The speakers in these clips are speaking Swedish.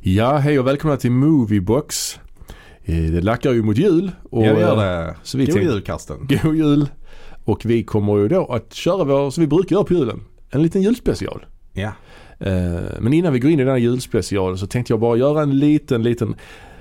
Ja, hej och välkomna till Moviebox. Eh, Det lackar ju mot jul. Och, ja, det gör eh, det. så vi God tänk- jul Karsten. God jul. Och vi kommer ju då att köra vår, som vi brukar göra på julen, en liten julspecial. Ja. Eh, Men innan vi går in i den här julspecialen så tänkte jag bara göra en liten, liten,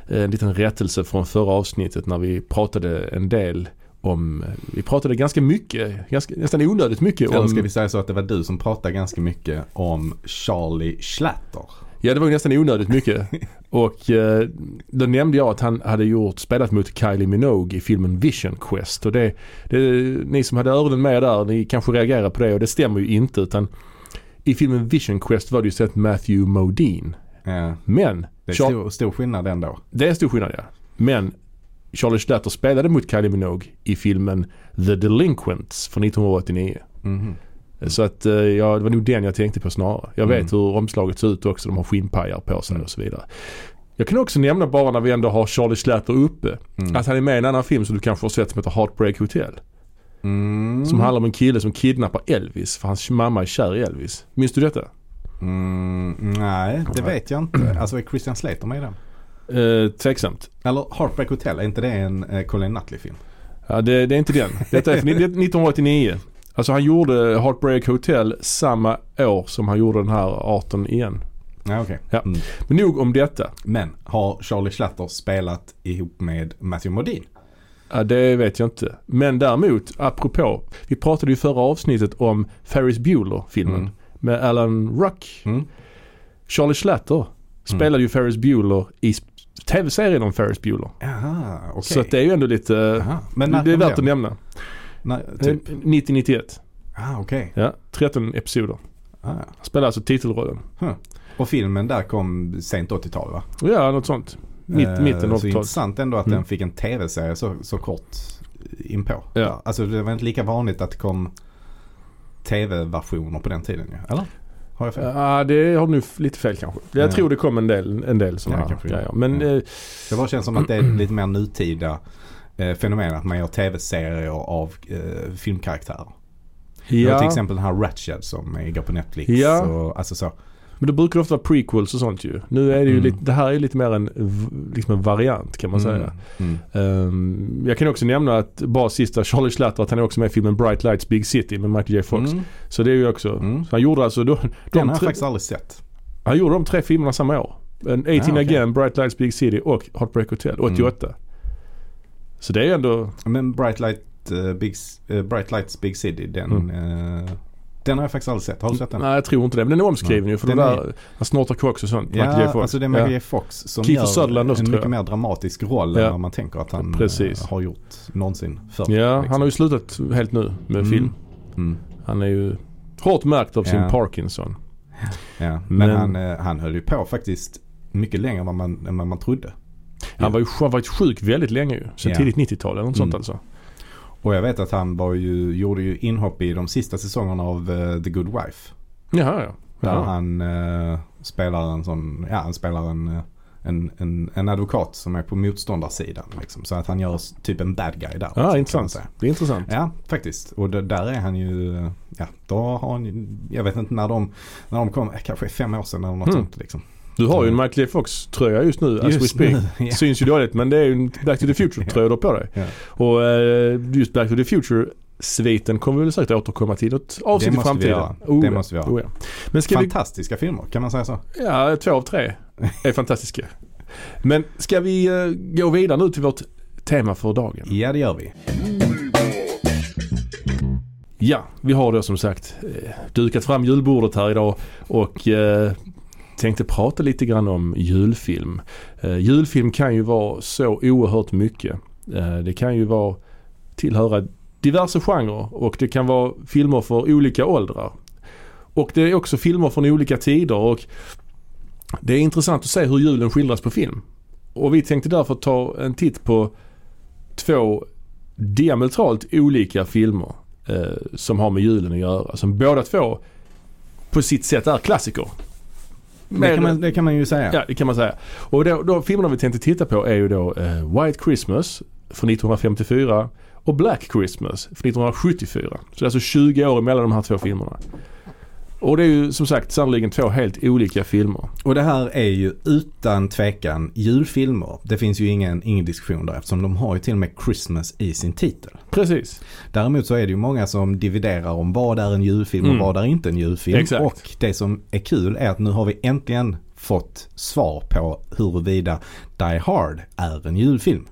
eh, en liten rättelse från förra avsnittet när vi pratade en del om, eh, vi pratade ganska mycket, ganska, nästan onödigt mycket Eller om, ska vi säga så att det var du som pratade ganska mycket om Charlie Schlatter. ja det var ju nästan onödigt mycket. Och eh, då nämnde jag att han hade gjort, spelat mot Kylie Minogue i filmen Vision Quest. Och det, det, ni som hade öronen med där, ni kanske reagerar på det och det stämmer ju inte utan i filmen Vision Quest var det ju sett Matthew Modine. Ja. Men Eh, Det är Char- stor, stor skillnad ändå. Det är stor skillnad ja. Men Charlie Schlatter spelade mot Kylie Minogue i filmen The Delinquents från 1989. Mhm. Så att eh, ja, det var nog den jag tänkte på snarare. Jag vet Mm. hur omslaget ser ut också. De har skinnpajar på sig och så vidare. Jag kan också nämna bara när vi ändå har Charlie Schlatter uppe. Mm. Att han är med i en annan film som du kanske har sett som heter Heartbreak Hotel. Mm. Som handlar om en kille som kidnappar Elvis för hans mamma är kär i Elvis. Minns du detta? Mm, nej, det vet jag inte. Alltså är Christian Slater med i den? Eh, tveksamt. Eller Heartbreak Hotel, är inte det en eh, Colin Nutley-film? Ja, det, det är inte den. Detta är från 1989. Alltså han gjorde Heartbreak Hotel samma år som han gjorde den här 18 igen. Ja, okej. Ja. Mm. Men nog om detta. Men har Charlie Schlatter spelat ihop med Matthew Modine? Ja, det vet jag inte. Men däremot, apropå. Vi pratade ju i förra avsnittet om Ferris Bueller-filmen Mm. med Alan Ruck. Mm. Charlie Schlatter spelade ju Ferris Bueller i sp- tv-serien om Ferris Bueller. Jaha, okej. Så att det är ju ändå lite... Aha. Men när det är kom värt att den? nämna. När- typ. 90-91. Ah, okej. Ja, 13 episoder. Ah. Han spelade alltså titelrollen. Och filmen där kom sent 80-tal va? Ja, något sånt. Mitt, Eh, mitten av Så 80-talet. intressant ändå att Mm. den fick en tv-serie så, så kort inpå. Ja. Alltså det var inte lika vanligt att det kom tv-versioner på den tiden ju. Eller? Har jag fel? Ja, det har du lite fel kanske. Jag Ja. tror det kom en del, en del sådana Ja, här kanske. grejer. Men Ja. eh, Det bara känns som att det är lite mer nutida eh, fenomen att man gör tv-serier av eh, filmkaraktärer. Det var Till ja, exempel den här Ratched som eh, går på Netflix. Ja. Och, alltså så. men då brukar det ofta vara prequels och sånt ju. Nu är det ju Mm. lite, det här är lite mer en, v- liksom en variant kan man säga. Mm. Ehm, jag kan också nämna att bara sista Charlie Schlatter att han är också med i filmen Bright Lights Big City med Michael J Fox. Mm. Så det är ju också, Mm. så han gjorde alltså de, Den de har jag tre, faktiskt aldrig sett. han gjorde de tre filmerna samma år. En 18 Ah, okej. Mm. Again, Bright Lights Big City och Heartbreak Hotel 88. Så det är ju ändå, Men Bright, Light, eh, Big, eh, Bright Lights Big City, den, Mm. eh, den har jag faktiskt aldrig sett. Har du sett den? Nej jag tror inte det. Men den är omskriven ju för Den den är- där, han snortar koks och sånt. Michael J. Ja, Fox. alltså det är Michael Ja. J. Fox som Kiefer gör Sutherland också, en tror mycket jag. mer dramatisk roll Ja. än vad man tänker att han eh, Precis. har gjort någonsin förr. Ja, liksom. han har ju slutat helt nu med Mm. film. Mm. Han är ju hårt märkt av sin Ja. Parkinson. Ja. Men, Men- Han, eh, han höll ju på faktiskt mycket längre än vad man, än vad man trodde. Ja. Han var ju han varit sjuk väldigt länge ju. Sen Ja. tidigt 90-tal eller något sånt Mm. alltså. Och jag vet att han var ju, gjorde ju inhopp i de sista säsongerna av eh, The Good Wife. Jaha ja. Där Jaha. han eh, spelar en sån, ja han spelar en, eh, en, en, en advokat som är på motståndarsidan. Liksom. Så att han gör s- typ en bad guy där. liksom, Ja, kan man intressant. säga. Det är intressant. Ja, faktiskt. Och d- där är han ju, eh, ja då har han ju- jag vet inte när de, när de kom, eh, kanske fem år sedan eller något Mm. sånt liksom. Du har ju en Michael J. Fox tröja just nu as we speak. nu, ja. Syns ju dåligt men det är ju en Back to the Future tröja du har på dig. Ja. Och eh, just Back to the Future sviten kommer vi väl säkert återkomma till i något avsnitt i måste vi framtiden. göra. Oh, Det ja. måste vi göra. Oh, ja. Men ska vi Fantastiska filmer, kan man säga så? Ja, två av tre är fantastiska. Men ska vi eh, gå vidare nu till vårt tema för dagen? Ja, det gör vi. Ja, vi har då som sagt eh, dukat fram julbordet här idag och eh, tänkte prata lite grann om julfilm. Eh, julfilm kan ju vara så oerhört mycket. Eh, det kan ju vara tillhöra diverse genrer och det kan vara filmer för olika åldrar. Och det är också filmer från olika tider och det är intressant att se hur julen skildras på film. Och vi tänkte därför ta en titt på två diametralt olika filmer eh, som har med julen att göra. Som båda två på sitt sätt är klassiker. Det kan man, det kan man ju säga. Ja, det kan man säga. Och då, då filmerna vi tänkte titta på är ju då eh, White Christmas från 1954 och Black Christmas från 1974. Så det är alltså 20 år mellan de här två filmerna. Och det är ju som sagt sannoliken två helt olika filmer. Och det här är ju utan tvekan julfilmer. Det finns ju ingen, ingen diskussion där eftersom de har ju till och med Christmas i sin titel. Precis. Däremot så är det ju många som dividerar om vad är en julfilm Mm. och vad är inte en julfilm. Exakt. Och det som är kul är att nu har vi äntligen fått svar på huruvida Die Hard är en julfilm.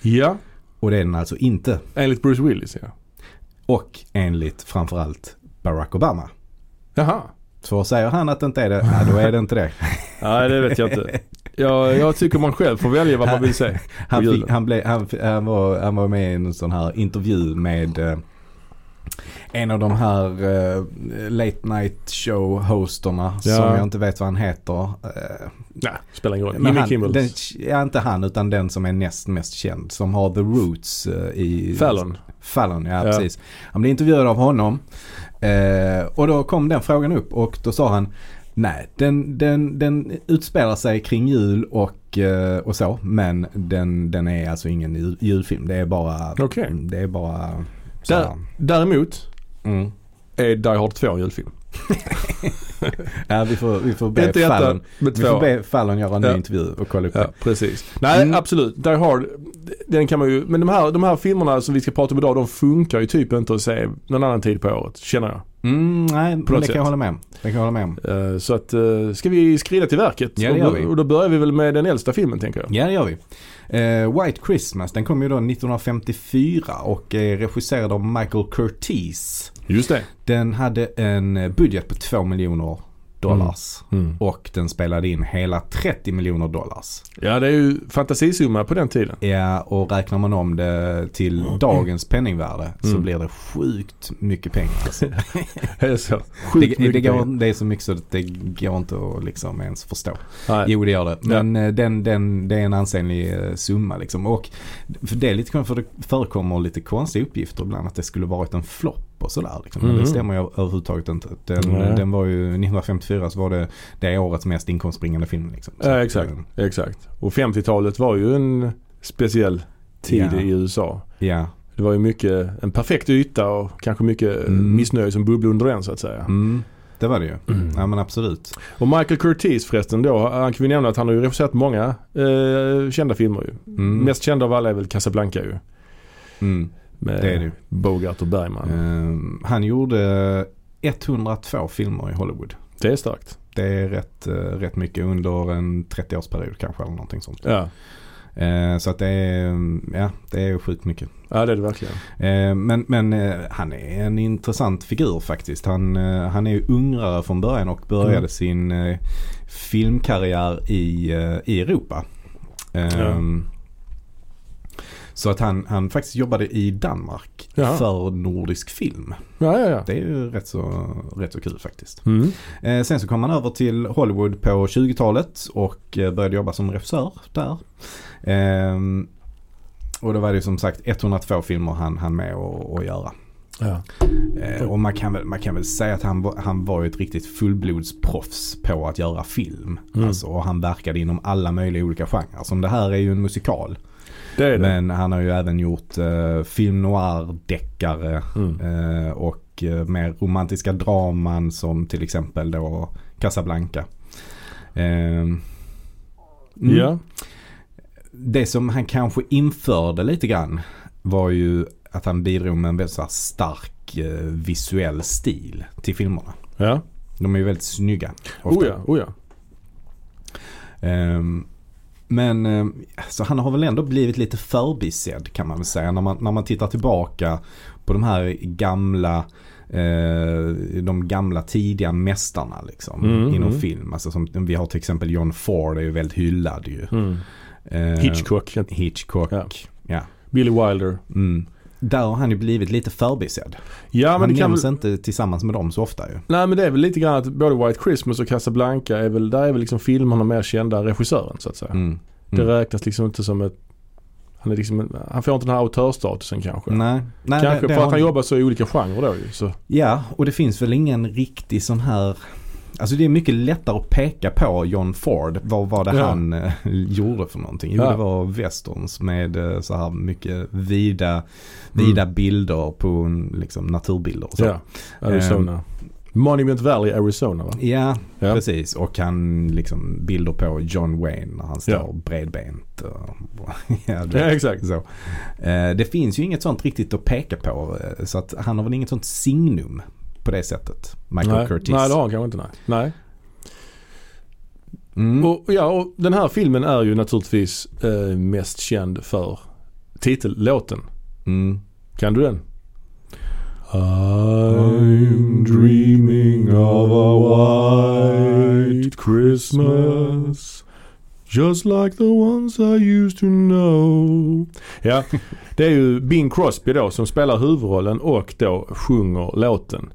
Ja, Och det är den alltså inte. enligt Bruce Willis ja. Och enligt framförallt Barack Obama. Jaha. Så säger han att det inte är det, nej då är det inte det. Nej det vet jag inte. Jag, jag tycker man själv får välja vad man vill se. Han, julen. fick, han, blev, han, f- han, var, han var med i en sån här intervju med eh, en av de här eh, late night show hosterna Ja. som jag inte vet vad han heter. Eh, Nej, spelar ingen roll. men Jimmy han, Kimmel. den, ja, inte han utan den som är näst mest känd som har The Roots eh, i Fallon. Fallon, ja, Ja. precis. Han blev intervjuad av honom. Eh, och då kom den frågan upp och då sa han Nej, den, den, den utspelar sig kring jul och, eh, och så. Men den, den är alltså ingen jul, julfilm. Det är bara... Okej. Det är bara... så Där, här. däremot Mm. är Die Hard 2 en julfilm. Ja, vi får, vi får be Inte ettan, Fallon. men Vi får två. be Fallon göra en ny Ja. intervju och kolla upp Ja, det. precis. Nej, typ. Mm. absolut. Die Hard, den kan man ju, men de här, de här filmerna som vi ska prata om idag, de funkar ju typ inte att se någon annan tid på året, känner jag. Mm, nej, men något det kan jag sätt. hålla med om. Det kan jag hålla med om. Eh, Så att, eh, ska vi skrida till verket? Ja, det och, gör då, vi. och då börjar vi väl med den äldsta filmen, tänker jag. Ja, det gör vi. Eh, White Christmas, den kom ju då 1954 och är regisserad av Michael Curtiz. Just det. Den hade en eh, budget på 2 miljoner dollars. Mm. Och den spelade in hela 30 miljoner dollars. Ja, det är ju fantasisumma på den tiden. Ja, och räknar man om det till dagens penningvärde så Mm. blir det sjukt mycket pengar. Alltså. Det är så. det, Sjukt det, mycket går, pengar. det är så mycket så att det går inte att liksom ens förstå. Nej. Jo det gör det. Men eh, den, den, det är en ansenlig eh, summa liksom. Och för det är lite konstigt för det förekommer lite konstiga uppgifter ibland att det skulle varit en flopp och sådär. Liksom. Men Mhm. det stämmer ju överhuvudtaget inte. Den, Nej. den var ju 1954 så var det det årets mest inkomstbringande film. Liksom. Så Ja, att, exakt. eh, Exakt. Och 50-talet var ju en speciell tid Ja. i USA. Ja. Det var ju mycket, en perfekt yta och kanske mycket eh, Mm. missnöje som bubblade under den så att säga. Mm. Det var det ju. Ja men absolut. Och Michael Curtiz förresten då, han kan vi nämna att han har ju regisserat många eh, kända filmer ju. Mm. Mest kända av alla är väl Casablanca ju. Mm. Med Det är det ju. Bogart och Bergman. Eh, han gjorde 102 filmer i Hollywood. Det är starkt. Det är rätt, eh, rätt mycket under en 30-årsperiod kanske eller någonting sånt. Ja. Eh, Så att det är, mm, ja, det är sjukt mycket. ja, det är det verkligen. Eh, Men, men eh, han är en intressant figur faktiskt. Han, eh, han är ju ungrare från början och började Mm. sin eh, filmkarriär i, eh, i Europa. Ehm, Så att han, han faktiskt jobbade i Danmark Ja. för nordisk film. Ja, ja, ja. Det är ju rätt så, rätt så kul faktiskt. Mm. Eh, sen så kom han över till Hollywood på 20-talet och eh, började jobba som regissör där. Ehm, och då var det ju som sagt 102 filmer han, han med och, och göra. Ja. Eh, och man kan, väl, man kan väl säga att han, var- han var ju ett riktigt fullblodsproffs på att göra film. Mm. Alltså, och han verkade inom alla möjliga olika genrer. Som det här är ju en musikal. Det är det. Men han har ju även gjort eh, film noir, deckare. Mm. Eh, och eh, mer romantiska draman som till exempel då Casablanca. Eh, mm. Ja. Det som han kanske införde lite grann var ju att han bidrog med en väldigt så här stark eh, visuell stil till filmerna. Ja. De är ju väldigt snygga. ofta. Oh ja, oh ja. Ehm, men eh, så han har väl ändå blivit lite förbisedd kan man väl säga. När man, när man tittar tillbaka på de här gamla eh, de gamla tidiga mästarna liksom, Mm, inom mm. film. Alltså som, vi har till exempel John Ford är ju väldigt hyllad ju. Mm. Ehm, Hitchcock. Hitchcock. Ja. Ja. Billy Wilder. Mm. Där har han ju blivit lite förbisedd. Ja, men han det kan väl... nämns inte tillsammans med dem så ofta ju. Nej men det är väl lite grann att både White Christmas och Casablanca är väl, där är väl liksom filmerna mer kända än regissören så att säga. Mm. Det Mm. räknas liksom inte som ett han, är liksom, en- han får inte den här autörsstatusen kanske. Nej, nej kanske det- det för har att han jobbar så i olika genrer då ju. Så. Ja, och det finns väl ingen riktig sån här Alltså det är mycket lättare att peka på John Ford. Vad var det Ja. han eh, gjorde för någonting? Jo, Ja. det var westerns med eh, så här mycket Mm. vida, vida bilder på en, liksom, naturbilder och så. Ja, Arizona. Monument Valley, Arizona va? Ja, Ja. precis. Och han liksom bilder på John Wayne när han står Ja. bredbent. Och, ja, du Ja, vet. exakt. så. Eh, det finns ju inget sånt riktigt att peka på. eh, Så att han har väl inget sånt signum på det sättet. Michael Nej, Curtis. nej det har han kanske inte. Nej. nej. Mm. Och, ja, och den här filmen är ju naturligtvis eh, mest känd för titellåten. Mm. Kan du den? I'm dreaming of a white Christmas Just like the ones I used to know Ja, det är ju Bing Crosby då som spelar huvudrollen och då sjunger låten.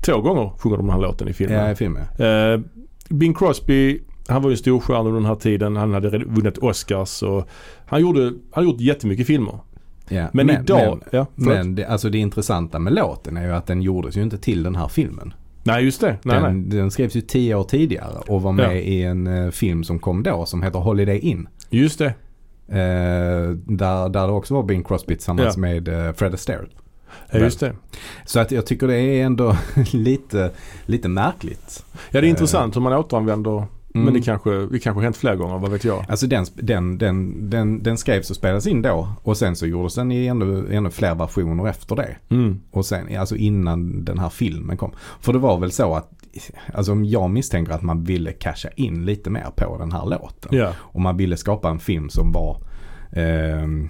Två gånger sjunger de den här låten i filmen. Ja, i filmen. Eh, Bing Crosby, han var ju en storstjärna under den här tiden. Han hade redan vunnit Oscars och han gjorde, han har gjort jättemycket filmer. Ja. Men, idag... Men, ja, förlåt. men det, alltså det intressanta med låten är ju att den gjordes ju inte till den här filmen. nej, just det. Nej, nej. den, den skrevs ju tio år tidigare och var med Ja. i en eh, film som kom då som heter Holiday Inn. Just det. Eh, där, där det också var Bing Crosby tillsammans Ja. med eh, Fred Astaire. Ja, just det. Så att jag tycker det är ändå lite, lite märkligt. Ja, det är Eh. intressant hur man återanvänder. Men Mm. det kanske, det kanske har hänt fler gånger, vad vet jag. Alltså den, sp- den, den, den, den skrevs och spelades in då och sen så gjordes den i ännu, ännu fler versioner efter det. Mm. Och sen, alltså innan den här filmen kom. För det var väl så att, alltså om jag misstänker att man ville casha in lite mer på den här låten. Ja. Och man ville skapa en film som var, ehm,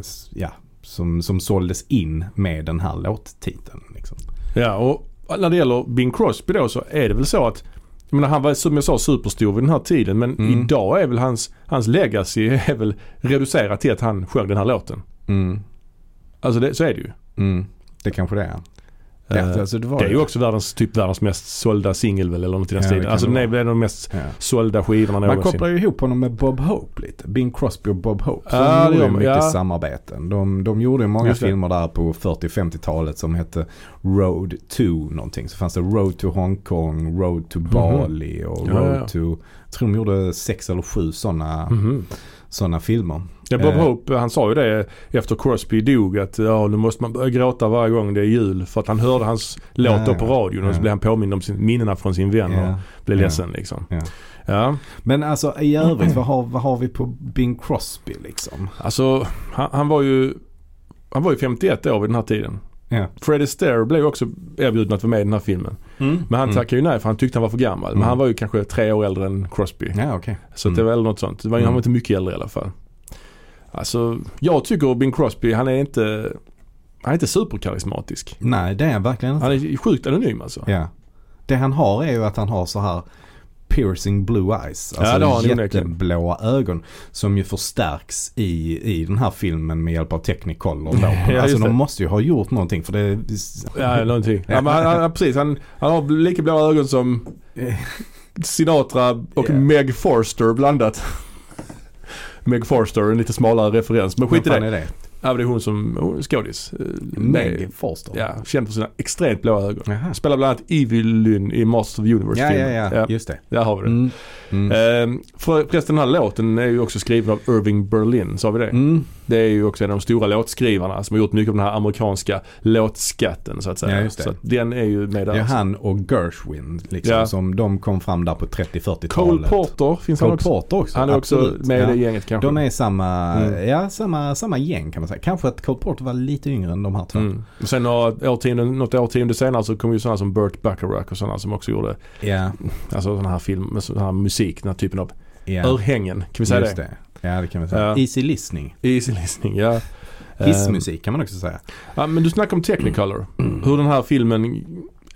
s- ja, som, som såldes in med den här låttiteln. Liksom. ja, och när det gäller Bing Crosby då så är det väl så att jag menar, han var som jag sa superstor vid den här tiden men Mm. idag är väl hans, hans legacy är väl reducerat till att han sjöng den här låten. Mm, Alltså det, så är det ju. mm, det kanske det är. Eh, alltså, det, var Det är ju också världens, typ världens mest sålda singel väl eller något i den Ja, det stilen. kan Alltså det den är vara. väl en av de mest Ja. sålda skivorna Man någonsin. kopplar ju ihop honom med Bob Hope lite. Bing Crosby och Bob Hope. Så Ja, det de gör gjorde ju man. mycket Ja. samarbeten. De, de gjorde ju många Just det. filmer där på 40-50-talet som hette Road to någonting. Så fanns det Road to Hongkong, Road to Bali och Mhm. Ja, ja, Road ja. to... Jag tror de gjorde sex eller sju sådana Mhm. såna filmer. Ja, Bob Eh. Hope han sa ju det efter Crosby dog att ja, nu måste man börja gråta varje gång det är jul. För att han hörde hans låt då Ja, på radion och så ja. blev han påmind om sin, minnena från sin vän Ja. och blev ja. ledsen liksom. Ja. Ja, Men alltså i övrigt, vad har, vad har vi på Bing Crosby liksom? alltså han, han var ju han var ju 51 år vid den här tiden. Ja. Fred Astaire blev ju också erbjuden att vara med i den här filmen. Mm. Men han tackade ju nej för han tyckte han var för gammal. Men Mm. han var ju kanske tre år äldre än Crosby. Ja, okej. Så att det var väl något sånt. Det var, Han Mm. var inte mycket äldre i alla fall. Alltså, jag tycker Bing Crosby, han är inte, han är inte superkarismatisk. Nej, det är jag verkligen inte. Han är sjukt anonym alltså. Ja. Det han har är ju att han har så här piercing blue eyes. Alltså Ja, det har han onekligen. jätteblåa ögon. Som ju förstärks i, i den här filmen med hjälp av Technicolor. då. Ja, alltså just de det. många måste ju ha gjort någonting för det... Ja, någonting. Ja, men han, han, precis, han, han har lika blåa ögon som Sinatra och Ja. Meg Forster blandat. Meg Forster, en lite smalare referens. Men skit i Vad det. fan är det? Ja, men det är hon som, hon är skådis. Eh, Meg med- Forster. Ja, känd för sina extremt blåa ögon. Jaha. Spelar bland annat Evelyn i Masters of the Universe Ja, ja, ja, just det. Där har vi det. Mm. Mm. Ehm, för- Förresten den här låten är ju också skriven av Irving Berlin, sa vi det? Mm. Det är ju också en av de stora låtskrivarna som har gjort mycket av den här amerikanska låtskatten så att säga. Ja, just det. Så att den är ju med Det där. är han och Gershwin liksom, Ja. som de kom fram där på 30-40-talet. Cole Porter finns han Cole också. Porter också. Han är också absolut. med i Ja. det gänget kanske. De är samma, Mm. ja, samma, samma gäng kan man säga. Kanske att Cole Porter var lite yngre än de här två. Mm. Och sen några årtionde, något årtionde senare så kom ju sådana som Burt Bacharach och sådana som också gjorde Ja, alltså sådana här film, sådana här musik, den här typen av ja. örhängen. Kan vi säga Just det? det. Ja, det kan vi säga. Ja. Easy listening. Easy listening, ja. Ehm, Hissmusik kan man också säga. Ja, men du snackade om Technicolor. Hur den här filmen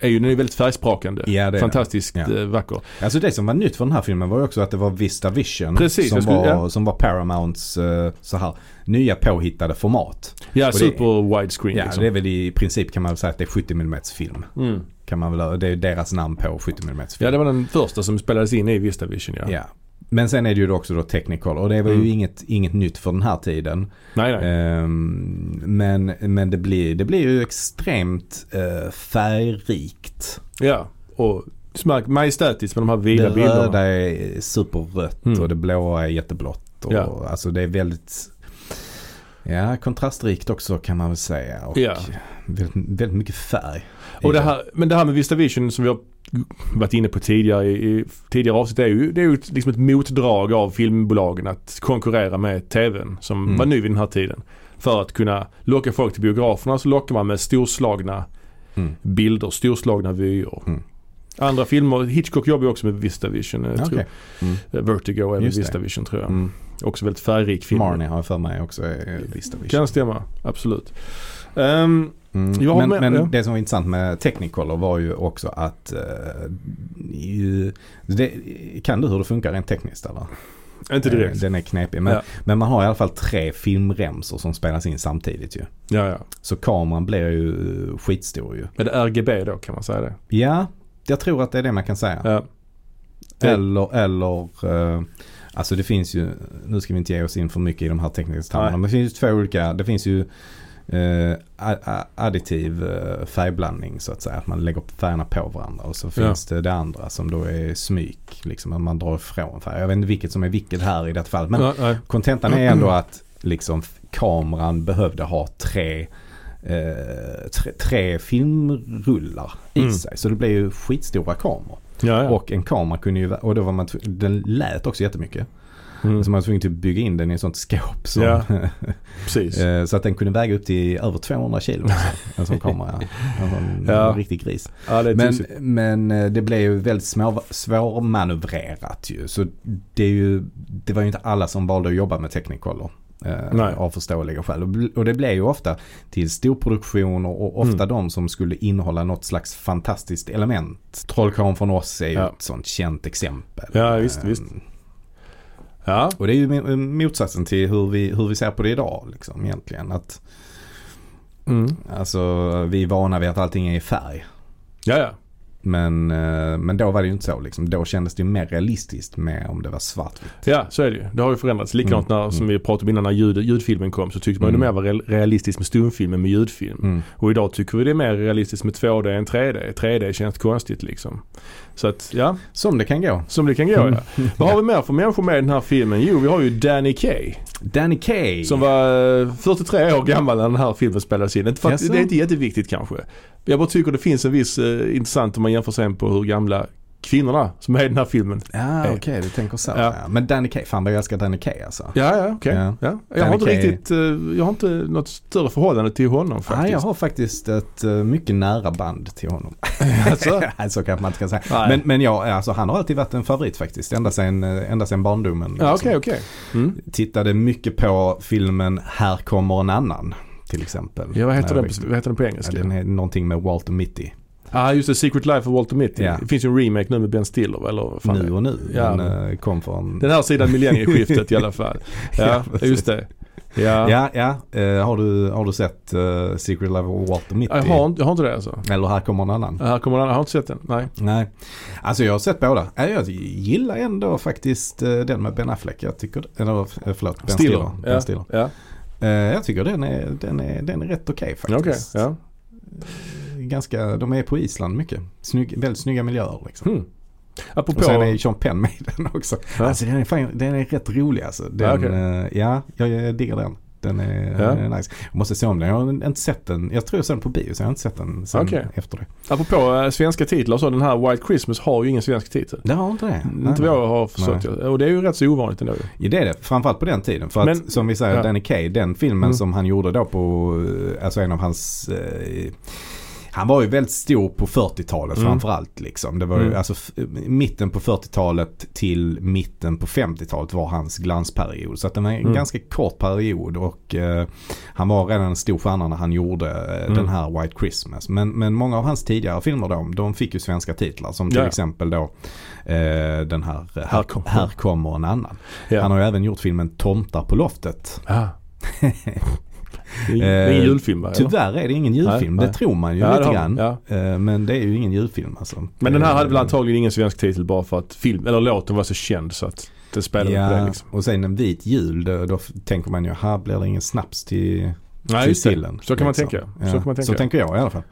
är ju, den är väldigt färgsprakande. Mm. Ja, det är den. Fantastiskt Ja. eh, vacker. Alltså det som var nytt för den här filmen var ju också att det var Vista Vision. Precis, som, jag skulle- var, ja. som var Paramounts eh, så här, nya påhittade format. Ja, det- super widescreen Ja, liksom. det är väl i princip kan man väl säga att det är 70 mm film. Mm. Kan man väl, det är deras namn på 70 mm film. ja, det var den första som spelades in i Vistavision ja. Ja. Men sen är det ju då också då Technicolor och det var Mm. ju inget, inget nytt för den här tiden. Nej, nej. Ehm, men men det, blir, det blir ju extremt eh, färgrikt. Ja, och smack, majestätiskt med de här vida det röda bilderna. är superrött Mm. och det blåa är jätteblått. Och, Ja. Alltså det är väldigt Ja, kontrastrikt också kan man väl säga. Och Ja. väldigt, väldigt mycket färg. Och det här, men det här med Vista Vision som vi har varit inne på tidigare i, i tidigare avsnitt är ju, det är ju ett- liksom ett motdrag av filmbolagen att konkurrera med TVn som Mm. var ny vid den här tiden. För att kunna locka folk till biograferna så lockar man med storslagna Mm. bilder, storslagna vyer. Mm. Andra filmer, Hitchcock jobbar ju också med Vista Vision. Jag tror, Okej. Mm. Vertigo är med Just det. Vista Vision tror jag. Mm. Också väldigt färgrik film. Marnie har jag för mig också eh, är Vistavision. Kan stämma, absolut. Ehm, Jag Mm. har Men, med- men ja. det som var intressant med Technicolor var ju också att... eh, ju, det, kan du hur det funkar rent tekniskt eller? inte direkt. Eh, Den är knepig. Men, Ja. men man har i alla fall tre filmremsor som spelas in samtidigt ju. Ja, ja. Så kameran blir ju eh, skitstor ju. Är det RGB då kan man säga det? Ja, jag tror att det är det man kan säga. Ja. Det- Eller, eller eh, alltså det finns ju, nu ska vi inte ge oss in för mycket i de här tekniska termerna, Nej. men det finns ju två olika, det finns ju eh, a- a- additiv eh, färgblandning så att säga, att man lägger upp färgerna på varandra och så finns det det andra som då är smyk, liksom att man drar ifrån färger. Jag vet inte vilket som är vilket här i det fallet, men Ja, nej. kontentan är ändå att liksom f- kameran behövde ha tre eh, tre, tre filmrullar i Mm. sig. Så det blev ju skitstora kameror. Ja, ja. Och en kamera kunde ju, och då var man tv- den lät också jättemycket. mm. Så man var tvungen att bygga in den i ett sånt skåp. Som, Ja. Precis. eh, så att den kunde väga upp till över 200 kilo. också, En sån kamera. En sån Ja. riktig gris. Ja, det är Men, tusen- men eh, det blev ju väldigt små, svårmanövrerat ju. Så det, är ju, det var ju inte alla som valde att jobba med Technicolor. eh, Nej. Av förståeliga skäl. Och bl- Och det blev ju ofta till storproduktioner och ofta Mm. de som skulle innehålla något slags fantastiskt element. Trollkarlen från oss är ju Ja. ett sånt känt exempel. Ja, visst, Eh, visst. Ja, Och det är ju mo- motsatsen till hur vi, hur vi ser på det idag liksom egentligen. Att, mm. alltså, vi är vana vid att allting är i färg. ja, ja. Men, eh, men då var det ju inte så. Liksom. Då kändes det ju mer realistiskt med om det var svartvitt. ja, så är det ju. Det har ju förändrats. Likadant när, som vi pratade om innan när ljud, ljudfilmen kom så tyckte man ju det Mm. mer var real- realistiskt med stumfilm än med ljudfilm. Mm. Och idag tycker vi det är mer realistiskt med 2D än 3D. 3D känns konstigt liksom. Så att, ja, Som det kan gå. som det kan gå ja. Vad har vi mer för människor med i den här filmen? Jo, vi har ju Danny Kaye. Danny Kaye. Som var eh, 43 år gammal när den här filmen spelades in. Inte för att, Jaså? det är inte jätteviktigt kanske. Jag bara tycker det finns en viss eh, intressant om man jämför sen på hur gamla kvinnorna som är i den här filmen. Ja, Eh. okej. du tänker så. Ja. Ja. Men Danny Kaye. Fan vad jag älskar Danny Kaye alltså. Ja, ja, okej. Ja. Ja. Jag, har inte Danny Kaye- riktigt, eh, jag har inte något större förhållande till honom Nej, jag faktiskt. har faktiskt ett eh, mycket nära band till honom. Alltså? Nej, så kanske man inte kan säga. Nej. Men, men ja, alltså, han har alltid varit en favorit faktiskt. Ända sedan, eh, ända sedan barndomen. Ja, Liksom. okej, okej. Mm. Tittade mycket på filmen Här kommer en annan. Till exempel. Ja, vad heter, När jag den växte på, vad heter den på Ja, engelska? den är någonting med Walter Mitty. ah, just det. Secret Life of Walter Mitty. Ja. Det finns ju en remake nu med Ben Stiller, va? eller vad fan det nu är. och nu. Ja, den eh, kom från... Den här sidan millennieskiftet i alla fall. Ja, Ja, precis. just det. Ja. Ja, ja. Eh, har, du, har du sett eh, Secret Life of Walter Mitty? Jag, har, inte- jag har inte det alltså. Eller Här kommer en annan? Här kommer den, jag har inte sett den. Nej. Nej. Alltså jag har sett båda. Nej, Jag gillar ändå faktiskt eh, den med Ben Affleck. Jag tycker... Eller eh, förlåt, Ben Stiller. Ben Ja. Stiller. Ja. Eh, jag tycker den är, den är, den är rätt okej Okej, faktiskt. ja. Ganska, de är på Island mycket. Snygg, väldigt snygga miljöer liksom. Hmm. Apropå... Och sen är Sean Penn med i den också. Ja. Alltså den är, fan, den är rätt rolig alltså. Den, Ja, okej. eh, ja jag, jag diggar den. Den är, Ja. den är nice. Jag måste se om den. Jag har inte sett den. Jag tror jag såg den på bio så jag har inte sett den sen Okej. efter det. Apropå eh, svenska titlar så, den här White Christmas har ju ingen svensk titel. Det har inte det. Inte vad jag har förstått. Och det är ju rätt så ovanligt ändå ju. Ja, det är det. Framförallt på den tiden. För att Men- som vi säger, ja. Danny Kaye, den filmen Mm. som han gjorde då på, eh, alltså en av hans eh, han var ju väldigt stor på 40-talet Mm. framförallt. Liksom. Det var ju, Mm. alltså, f- mitten på 40-talet till mitten på 50-talet var hans glansperiod. Så att det var en Mm. ganska kort period och eh, han var redan en stor stjärna när han gjorde eh, Mm. den här White Christmas. Men, men många av hans tidigare filmer då, de fick ju svenska titlar. Som till Ja. exempel då eh, den här eh, Här här, kommer- här kommer en annan. Ja. Han har ju även gjort filmen Tomtar på loftet. Ah. det är det är ingen Eh, julfilm va? eller? Tyvärr är det ingen julfilm. nej. Det tror man ju Ja, det lite har- grann. ja. Eh, Men det är ju ingen julfilm alltså. Men den här hade väl Eh, antagligen ingen svensk titel bara för att film, eller låten var så känd så att den spelade på det Ja, liksom. och sen en vit jul. Då, då f- tänker man ju, här blir det ingen snaps till, Nej, till just det. sillen. Så kan man liksom. tänka. Ja, Så kan man tänka. Så tänker jag i alla fall.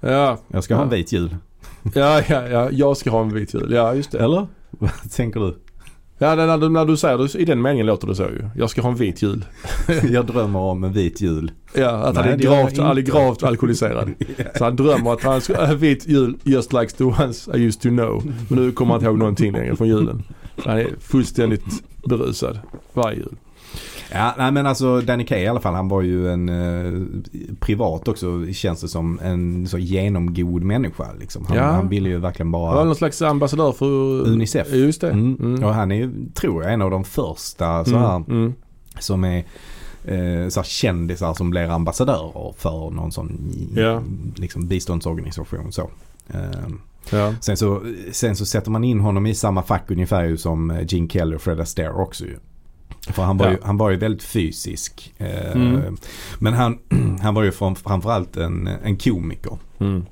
Ja, Jag ska ha en Ja. vit jul. ja, ja, ja. Jag ska ha en vit jul. Ja, just det. Eller? Vad tänker du? Ja, när du, när du säger det, i den meningen låter det så ju. Jag ska ha en vit jul. Jag drömmer om en vit jul. Ja, att Nej, han är det gör jag gravt, han är inte. gravt alkoholiserad. Så han drömmer att han ska ha vit jul just like the ones I used to know. Men nu kommer han inte ihåg någonting längre från julen. Han är fullständigt berusad varje jul. Ja, nej men alltså Danny Kaye i alla fall, han var ju en eh, privat också känns det som en så genomgod människa liksom. Han, Ja. han ville ju verkligen Han var bara någon slags ambassadör för Unicef. Ja, Just det. Mm. Mm. Och han är ju, tror jag, en av de första så här, Mm, mm. som är eh, så här, kändisar som blir ambassadörer för någon sån Ja. liksom, biståndsorganisation. Så. Eh, Ja. sen, så, sen så sätter man in honom i samma fack ungefär ju som eh, Gene Kelly och Fred Astaire också ju. För han var, Ja. ju, han var ju väldigt fysisk. Eh, Mm. Men han, han var ju fram, framförallt en, en komiker. Mm.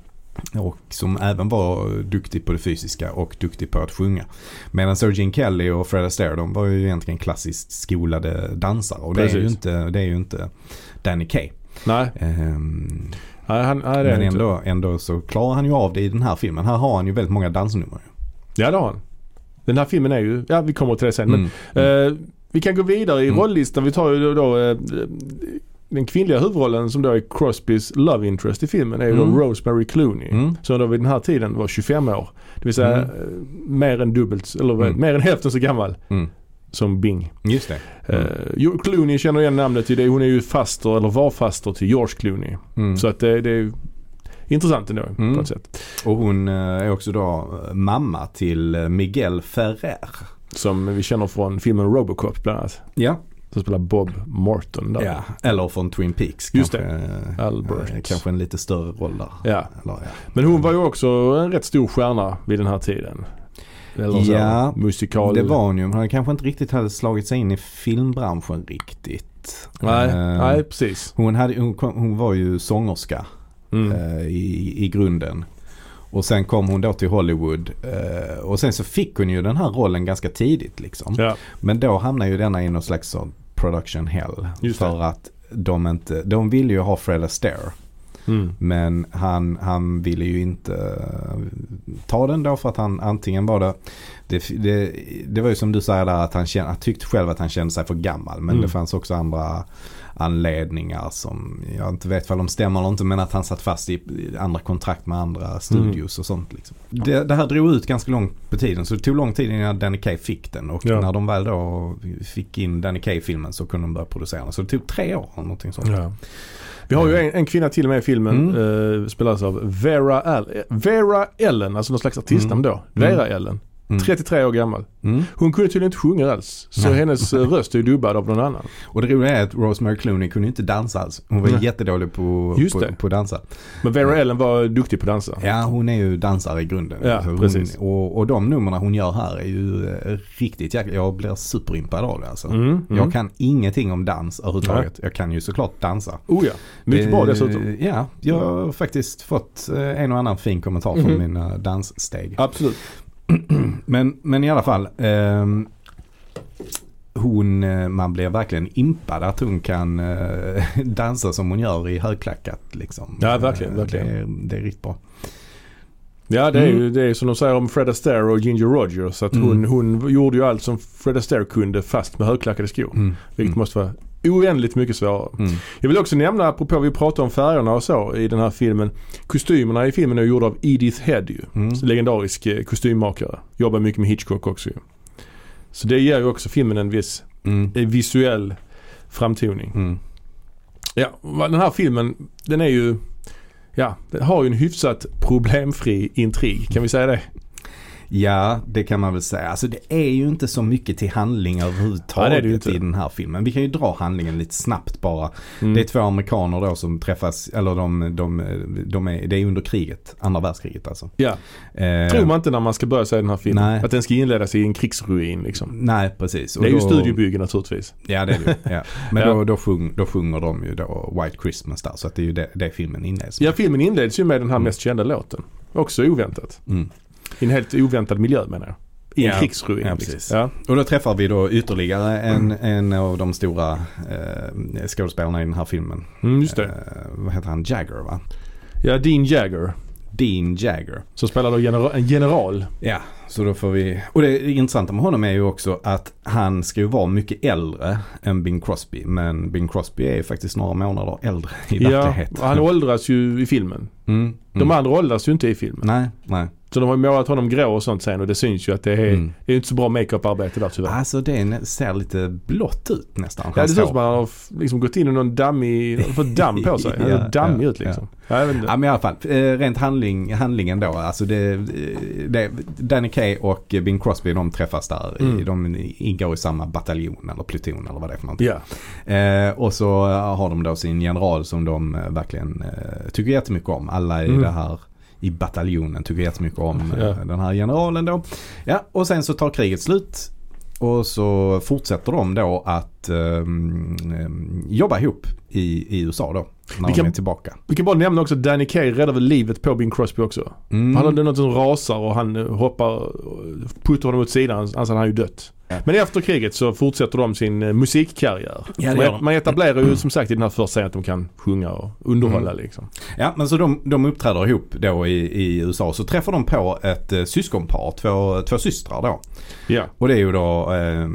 Och som även var duktig på det fysiska och duktig på att sjunga. Medan så Gene Kelly och Fred Astaire de var ju egentligen klassiskt skolade dansare. Och det är, ju Precis. inte, det är ju inte Danny Kaye. Nej, Ehm, nej, han, nej det är men han inte. ändå, ändå så klarar han ju av det i den här filmen. Här har han ju väldigt många dansnummer. Ja, det har han. Den här filmen är ju, ja vi kommer till det sen. Men Mm. Eh, vi kan gå vidare i Mm. rollistan. Vi tar ju då, då eh, den kvinnliga huvudrollen som då är Crosbys love interest i filmen är ju Mm. då Rosemary Clooney. Mm. Som då vid den här tiden var 25 år. Det vill säga Mm. eh, mer än dubbelt, eller vad- Mm. mer än hälften så gammal Mm. som Bing. Just det. Mm. Eh, jo, Clooney känner igen namnet till det. Hon är ju faster, eller var faster till George Clooney. Mm. Så att det, det är ju intressant ändå Mm. på något sätt. Och hon eh, är också då eh, mamma till eh, Miguel Ferrer. Som vi känner från filmen Robocop bland annat. Ja. Som spelar Bob Morton där. ja. Eller från Twin Peaks. Just kanske, det. Albert. Kanske en lite större roll där. Ja. Eller, ja. Men hon var ju också en rätt stor stjärna vid den här tiden. Eller så, Ja, musikal. Det var hon ju. men Hon kanske inte riktigt hade slagit sig in i filmbranschen riktigt. Nej, Eh, nej precis. Hon, hade, hon, kom, hon var ju sångerska Mm. eh, i, i grunden. Och sen kom hon då till Hollywood. eh, och sen så fick hon ju den här rollen ganska tidigt liksom. Ja, Men då hamnar ju denna i någon slags sån production hell. Just det. för att de inte, de ville ju ha Fred Astaire. mm. Men han, han ville ju inte eh, ta den då för att han antingen var det, det, det, det var ju som du säger där att han, kände, han tyckte själv att han kände sig för gammal. Men Mm. det fanns också andra anledningar som jag inte vet vad de stämmer eller inte men att han satt fast i i andra kontrakt med andra Mm. studios och sånt. Liksom. Det, det här drog ut ganska långt på tiden så det tog lång tid innan Danny Kaye fick den och Ja. när de väl då fick in Danny Kaye-filmen så kunde de börja producera den. Så det tog tre år eller någonting sånt. ja. Vi har ju Eh. en, en kvinna till med i filmen. Mm. Eh, spelas av Vera, Al- Vera Ellen, alltså någon slags artistnamn då. Vera Ellen. Mm. 33 år gammal. Mm. Hon kunde tydligen inte sjunga alls. Så Nej. hennes eh, röst är ju dubbad av någon annan. Och det roliga är att Rosemary Clooney kunde inte dansa alls. Hon var Nej. jättedålig på, Just på, det. på att dansa. Men Vera Ellen var duktig på att dansa. Ja, hon är ju dansare i grunden. Ja, Alltså, precis. Hon, och, och de numren hon gör här är ju eh, riktigt jäkla... Jag blir superimpad av det alltså. Mm, mm. Jag kan ingenting om dans överhuvudtaget. Jag kan ju såklart dansa. Oh ja, mycket Eh, bra dessutom. Ja, jag har faktiskt fått eh, en och annan fin kommentar från Mhm. mina danssteg. Absolut. Men, men i alla fall. ehm, hon, eh, man blir verkligen impad att hon kan eh, dansa som hon gör i högklackat. Liksom. Ja, verkligen, Eh, verkligen. Det, är, det är riktigt bra. Ja det är ju Mm. det är som de säger om Fred Astaire och Ginger Rogers. Att hon, Mm. hon gjorde ju allt som Fred Astaire kunde fast med högklackade skor. Mm. Vilket måste vara oändligt mycket svårare. Mm. Jag vill också nämna, apropå vi pratade om färgerna och så i den här filmen. Kostymerna i filmen är gjorda av Edith Head ju. Mm. Legendarisk eh, kostymmakare. Jobbar mycket med Hitchcock också ju. Så det ger ju också filmen en viss Mm. eh, visuell framtoning. Mm. Ja, va- den här filmen den är ju, ja den har ju en hyfsat problemfri intrig. Kan vi säga det? Ja, det kan man väl säga. Alltså det är ju inte så mycket till handling Nej, det är överhuvudtaget det ju inte. i den här filmen. Vi kan ju dra handlingen lite snabbt bara. Mm. Det är två amerikaner då som träffas, eller de, de, de är, det är under kriget, andra världskriget alltså. Ja. Eh, tror man inte när man ska börja se den här filmen. Nej. Att den ska inledas i en krigsruin liksom. Nej, precis. Och det är ju då- studiobygge naturligtvis. Ja, det är det ju. ja. Men Ja. Då, då, sjung, då sjunger de ju då White Christmas där. Så att det är ju det, det filmen inleds med. Ja, filmen inleds ju med den här Mm. mest kända låten. Också oväntat. Mm. I en helt oväntad miljö menar jag. I en Ja. krigsruin. Ja, liksom. precis. Ja. Och då träffar vi då ytterligare Mm. en, en av de stora eh, skådespelarna i den här filmen. Mm, just det. Eh, vad heter han? Jagger va? Ja, Dean Jagger. Dean Jagger. Så spelar då genera- en general. Ja, så då får vi... Och det intressanta med honom är ju också att han ska ju vara mycket äldre än Bing Crosby. Men Bing Crosby är ju faktiskt några månader äldre i Ja, verkligheten. han åldras ju i filmen. Mm, mm. De andra åldras ju inte i filmen. Nej, nej. Så de har ju målat honom grå och sånt sen och det syns ju att det är, Mm. det är inte så bra makeup-arbete där tyvärr. Alltså det är nä- ser lite blått ut nästan. Ja, det hans ser ut hår. som att han har f- liksom gått in i någon dammig, fått damm på sig. Han ser Ja, dammig ja, ut liksom. Ja. jag vet inte. Ja men i alla fall, eh, rent handling, handlingen då. Alltså det, eh, det, Danny Kaye och Bing Crosby de träffas där. i- Mm. De ingår i samma bataljon eller pluton eller vad det är för någonting. Ja. Eh, och så eh, har de då sin general som de eh, verkligen eh, tycker jättemycket om. Alla i Mm. det här i bataljonen tycker jättemycket om eh, Ja. den här generalen då. Ja, och sen så tar kriget slut. Och så fortsätter de då att ehm, ehm, jobba ihop i, i USA då. När Vi kan- de är tillbaka. Vi kan bara nämna också att Danny Kaye räddar väl livet på Bing Crosby också. Mm. Han hade något som rasar och han eh, hoppar, och puttar honom åt sidan, annars hade han ju dött. Ja. Men efter kriget så fortsätter de sin eh, musikkarriär. Ja, det gör man, de. man etablerar ju som sagt i den här första scenen att de kan sjunga och underhålla Mm. liksom. Ja, men så de, de uppträder ihop då i, i USA. Så träffar de på ett eh, syskonpar, två, två systrar då. Ja. Och det är ju då eh,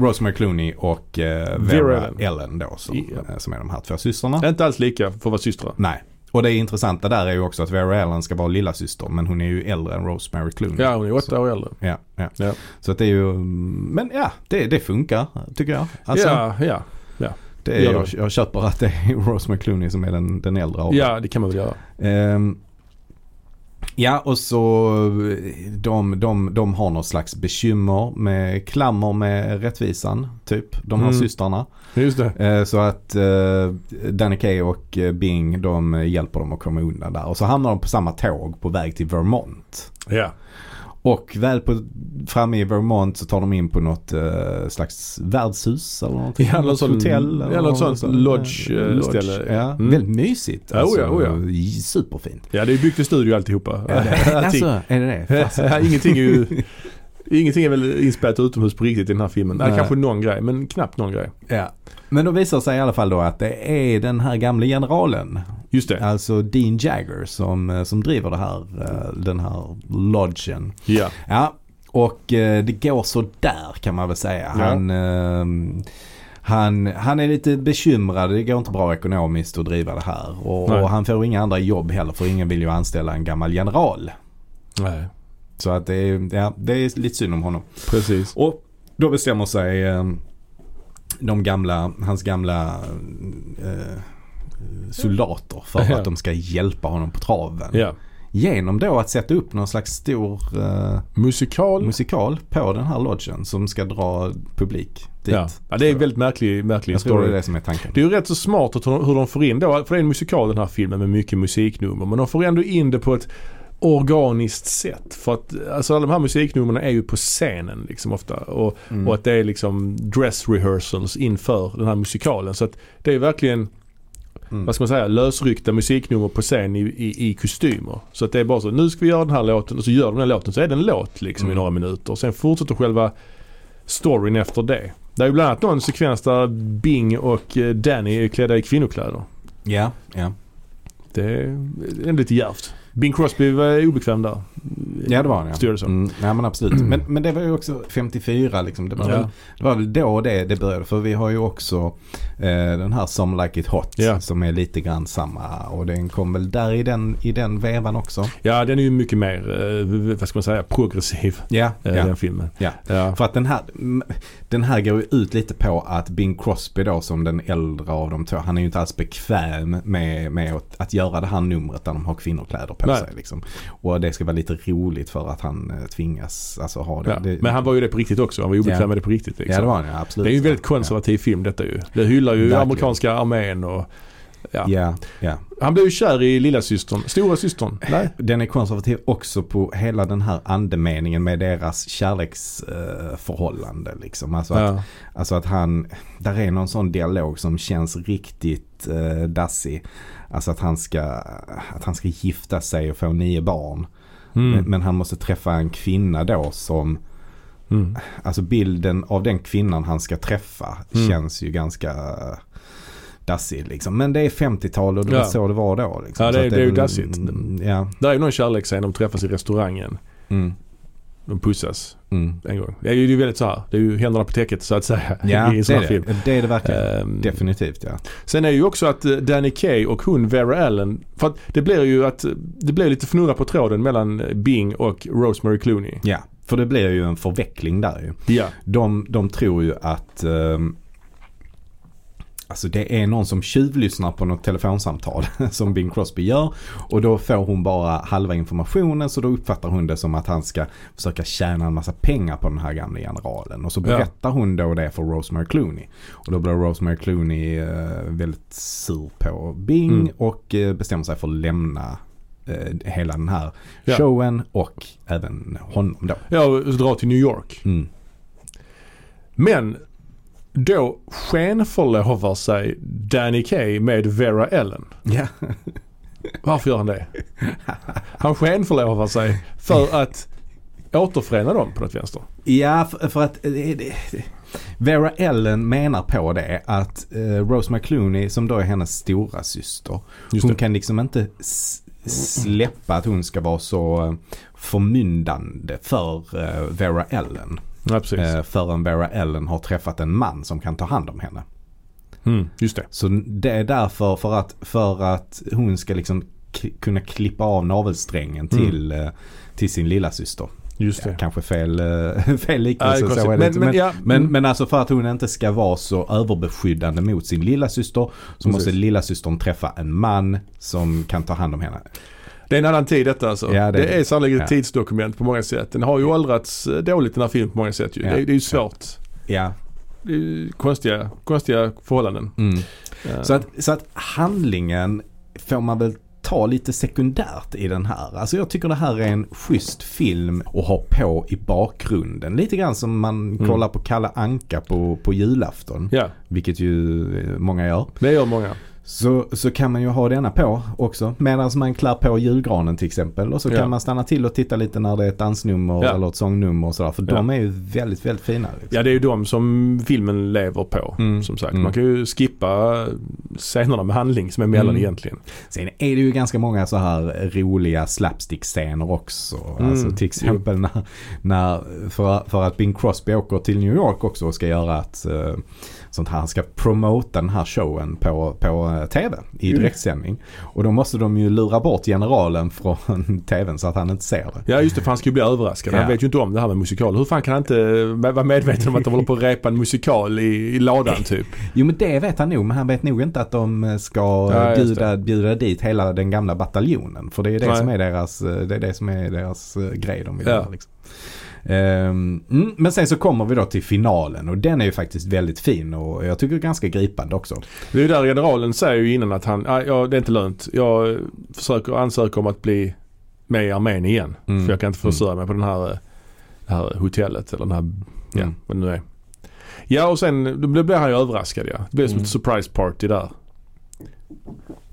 Rosemary Clooney och eh, Vera Vera Ellen. Ellen. då som, Ja. eh, som är de här två systrarna. Det är inte alls lika för att vara systrar. Nej. Och det intressanta där är ju också att Vera Ellen ska vara lilla syster men hon är ju äldre än Rosemary Clooney. Ja, hon är åtta år äldre. Ja, ja. Ja. Så att det är ju, mm, men ja, det, det funkar tycker jag. Alltså, ja, ja. det är, gör jag, det. jag köper att det är Rosemary Clooney som är den, den äldre av ja, det kan man väl göra. Ehm, ja, och så eh, de, de, de har något slags bekymmer med klammer med rättvisan, typ. De här Mm. systrarna. Just det. Eh, så att eh, Danny Kaye och eh, Bing, de eh, hjälper dem att komma undan där. Och så hamnar de på samma tåg på väg till Vermont. Ja. Och väl på, framme i Vermont så tar de in på något eh, slags värdshus eller någonting. Ja, någon Något sån- ja, något något sånt sånt. lodge, eh, ställe. Ja, Mm. Väldigt mysigt. Ja, oja, oja. i- Superfint. Ja, det är ju byggt i studio alltihopa. Allting. Alltså, är det det? Fast- ingenting är ju... Ingenting är väl inspelat utomhus på riktigt i den här filmen. Nej. Nej. Kanske någon grej, men knappt någon grej. Ja. Men då visar det sig i alla fall då att det är den här gamle generalen, Just det. alltså Dean Jagger, som, eh, som driver det här, eh, den här lodgen. Ja. Ja, och eh, det går så där kan man väl säga. Ja. Han, eh, han, han är lite bekymrad, det går inte bra ekonomiskt att driva det här. Och, Nej. och han får inga andra jobb heller för ingen vill ju anställa en gammal general. Nej. Så att det är, ja, det är lite synd om honom. Precis. Och då bestämmer sig eh, de gamla, hans gamla eh, soldater för Ja. att de ska hjälpa honom på traven. Ja. Genom då att sätta upp någon slags stor eh, Musikal. musikal på den här lodgen som ska dra publik dit. ja. ja, det är en väldigt märklig, märklig Jag tror det är story. det som är tanken. Det är ju rätt så smart att hur hur de får in då, för det är en musikal den här filmen med mycket musiknummer. Men de får ändå in det på ett organiskt sätt. För att alltså, alla de här musiknumren är ju på scenen liksom ofta. Och Mm. Och att det är liksom dress rehearsals inför den här musikalen. Så att det är verkligen, Mm. vad ska man säga, lösryckta musiknummer på scen i, i, i kostymer. Så att det är bara så, nu ska vi göra den här låten och så gör de den här låten. Så är det en låt liksom i Mm. några minuter. Och sen fortsätter själva storyn efter det. Det är ju bland annat någon sekvens där Bing och eh, Danny är klädda i kvinnokläder. Ja, ja. Det är ändå lite djärvt. Bing Crosby var obekväm där. Typ ja, det var han ja. Styrde så. Mm, nej men absolut. Men, men det var ju också 54 liksom. Det var, Ja. väl, det var väl då det, det började. För vi har ju också eh, den här Some Like It Hot Ja. som är lite grann samma. Och den kom väl där i den, i den vevan också. Ja, den är ju mycket mer, eh, vad ska man säga, progressiv. Ja, eh, ja. Den filmen. Ja. ja. För att den här, mm, den här går ju ut lite på att Bing Crosby då som den äldre av de två, han är ju inte alls bekväm med, med att, att göra det här numret där de har kvinnokläder på Nej. sig. Liksom. Och det ska vara lite roligt för att han eh, tvingas alltså, ha det. Ja. det Men han var ju det på riktigt också. Han var ju obekväm Ja. med det på riktigt. Liksom. ja, det var han ja, absolut. det är ju en väldigt konservativ film detta ju. Det hyllar ju Verkligen. amerikanska armén och... Ja. Ja. Ja, ja. Han blev ju kär i lilla systern, stora systern. Nej. Den är konservativ också på hela den här andemeningen med deras kärleksförhållande. Liksom. Alltså att Ja. Alltså att han, där är någon sån dialog som känns riktigt eh, dassig. Alltså att han, ska, att han ska gifta sig och få nio barn. Men, Mm. men han måste träffa en kvinna då som, Mm. alltså bilden av den kvinnan han ska träffa Mm. känns ju ganska dassig liksom. Men det är 50-tal och det var Ja. så det var då. Liksom. Ja, det Så är- att det är ju väl- dassigt. mm, Ja. Där är ju någon kärleksscen, de träffas i restaurangen. Mm. De pussas Mm. en gång. Det är ju det är väldigt så här, det är ju händerna på täcket så att säga Ja, i en det sån här är film. det. Det är det verkligen. Ehm, Definitivt ja. Sen är ju också att eh, Danny Kaye och hon Vera Allen, för att det blir ju att eh, det blir lite fnurra på tråden mellan eh, Bing och Rosemary Clooney. Ja, för det blir ju en förveckling där ju. Ja. De, de tror ju att ehm, Alltså det är någon som tjuvlyssnar på något telefonsamtal som Bing Crosby gör. Och då får hon bara halva informationen så då uppfattar hon det som att han ska försöka tjäna en massa pengar på den här gamla generalen. Och så Ja. berättar hon då det för Rosemary Clooney. Och då blir Rosemary Clooney eh, väldigt sur på Bing Mm. och eh, bestämmer sig för att lämna eh, hela den här Ja. showen och även honom då. Ja, och så dra till New York. Mm. Men då skenförlovar sig Danny Kaye med Vera Allen. Ja. Varför gör han det? Han skenförlovar sig för att återförena dem på något vänster. Ja, för, för att eh, det- det- Vera Ellen menar på det att eh, Rose McClooney som då är hennes stora syster Just Hon det. kan liksom inte s- släppa att hon ska vara så eh, förmyndande för eh, Vera Ellen. Ja, precis. Eh, förrän Vera Ellen har träffat en man som kan ta hand om henne. Mm, just det. Så det är därför för att, för att hon ska liksom k- kunna klippa av navelsträngen till, eh, till sin lilla syster. Mm. Just Ja, det. kanske fel, Ja, eh, fel det är liknelse. så konstigt. är det Men- inte. men men, ja, men, mm. men alltså för att hon inte ska vara så överbeskyddande mot sin lilla syster så måste Precis. lilla systern träffa en man som kan ta hand om henne. Det är en annan tid detta alltså. Ja, det, det- är sannolikt ett ja. tidsdokument på många sätt. Den har ju åldrats eh, dåligt den här filmen på många sätt ju. Ja. Det, är- det är ju svårt. Ja. Det är ju konstiga, konstiga förhållanden. Mm. Eh, Så, att, så att handlingen får man väl ta lite sekundärt i den här. Alltså jag tycker det här är en schysst film att ha på i bakgrunden. Lite grann som man Mm. kollar på Kalla Anka på, på julafton. Ja, Vilket ju eh, många gör. det gör många. Så, så kan man ju ha denna på också. Medan man klär på julgranen till exempel. Och så Ja. kan man stanna till och titta lite när det är ett dansnummer Ja. eller ett sångnummer och sådär. För Ja. de är ju väldigt, väldigt fina. Liksom. Ja, det är ju de som filmen lever på. Mm. Som sagt, Mm. man kan ju skippa scenerna med handling som är mellan Mm. egentligen. Sen är det ju ganska många så här roliga slapstick-scener också. Mm. Alltså till exempel när, när för, för att Bing Crosby åker till New York också och ska göra ett eh, sånt här. Han ska promota den här showen på, på eh, TV i Mm. direktsändning. Och då måste de ju lura bort generalen från TVn så att han inte ser det. Ja, just det, för han ska ju bli överraskad. Han Ja. vet ju inte om det här med musikal. Hur fan kan han inte eh, vara medveten om att de håller på att repa en musikal i, i ladan typ? Jo men det vet han nog men han vet nog inte att de eh, ska Ja, just bjuda, bjuda dit hela den gamla bataljonen. För det är det, Nej. som är, deras, eh, det är det som är deras eh, grej de vill Ja. göra. Liksom. Ehm, mm, men sen så kommer vi då till finalen och den är ju faktiskt väldigt fin och jag tycker ganska gripande också. Det är ju där generalen säger ju innan att han, "Ah, ja det är inte lönt. Jag eh, försöker ansöka om att bli med i armén igen. Mm. För jag kan inte försörja mig på den här, eh, det här hotellet eller den här, ja Mm. vad det nu är. Ja och sen då blir blir han ju överraskad ja. Det blir som Mm. ett surprise party där.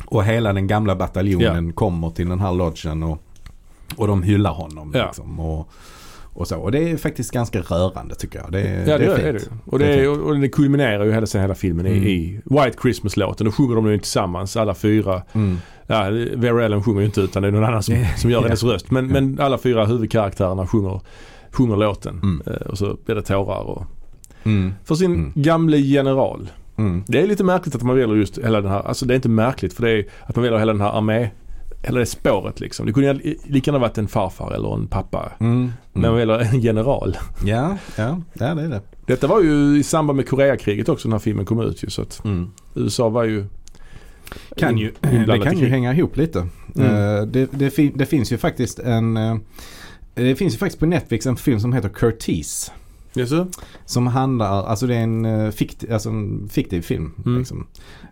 Och hela den gamla bataljonen kommer till den här lodgen och, och de hyllar honom. Ja. Liksom, och, och, så. och det är faktiskt ganska rörande tycker jag. Det, är- Ja det, det är är, fint. det ju. Och det, Det är är, och det kulminerar ju hela, sen hela filmen Mm. i, i White Christmas-låten. Då sjunger de ju tillsammans alla fyra. Mm. Ja, Vera Ellen sjunger ju inte utan det är någon annan som, som gör hennes röst. Men, men alla fyra huvudkaraktärerna sjunger, sjunger låten. Mm. Eh, Och så blir det tårar. Och, Mm. för sin Mm. gamle general. Mm. Det är lite märkligt att man väljer just hela den här, alltså det är inte märkligt för det är att man väljer hela den här armé, hela det spåret liksom. Det kunde ju lika gärna varit en farfar eller en pappa. Mm. Mm. Men man väljer en general. Ja, ja, ja det är det. Detta var ju i samband med Koreakriget också när filmen kom ut ju så att USA var ju Kan ju, det inblandat Mm. i kan ju krig. hänga ihop lite. Mm. Eh, Det, det, fin- det finns ju faktiskt en eh, det finns ju faktiskt på Netflix en film som heter Curtis. Jaså? Som handlar, alltså det är en, eh, fikt, alltså en fiktiv film. Mm. Liksom.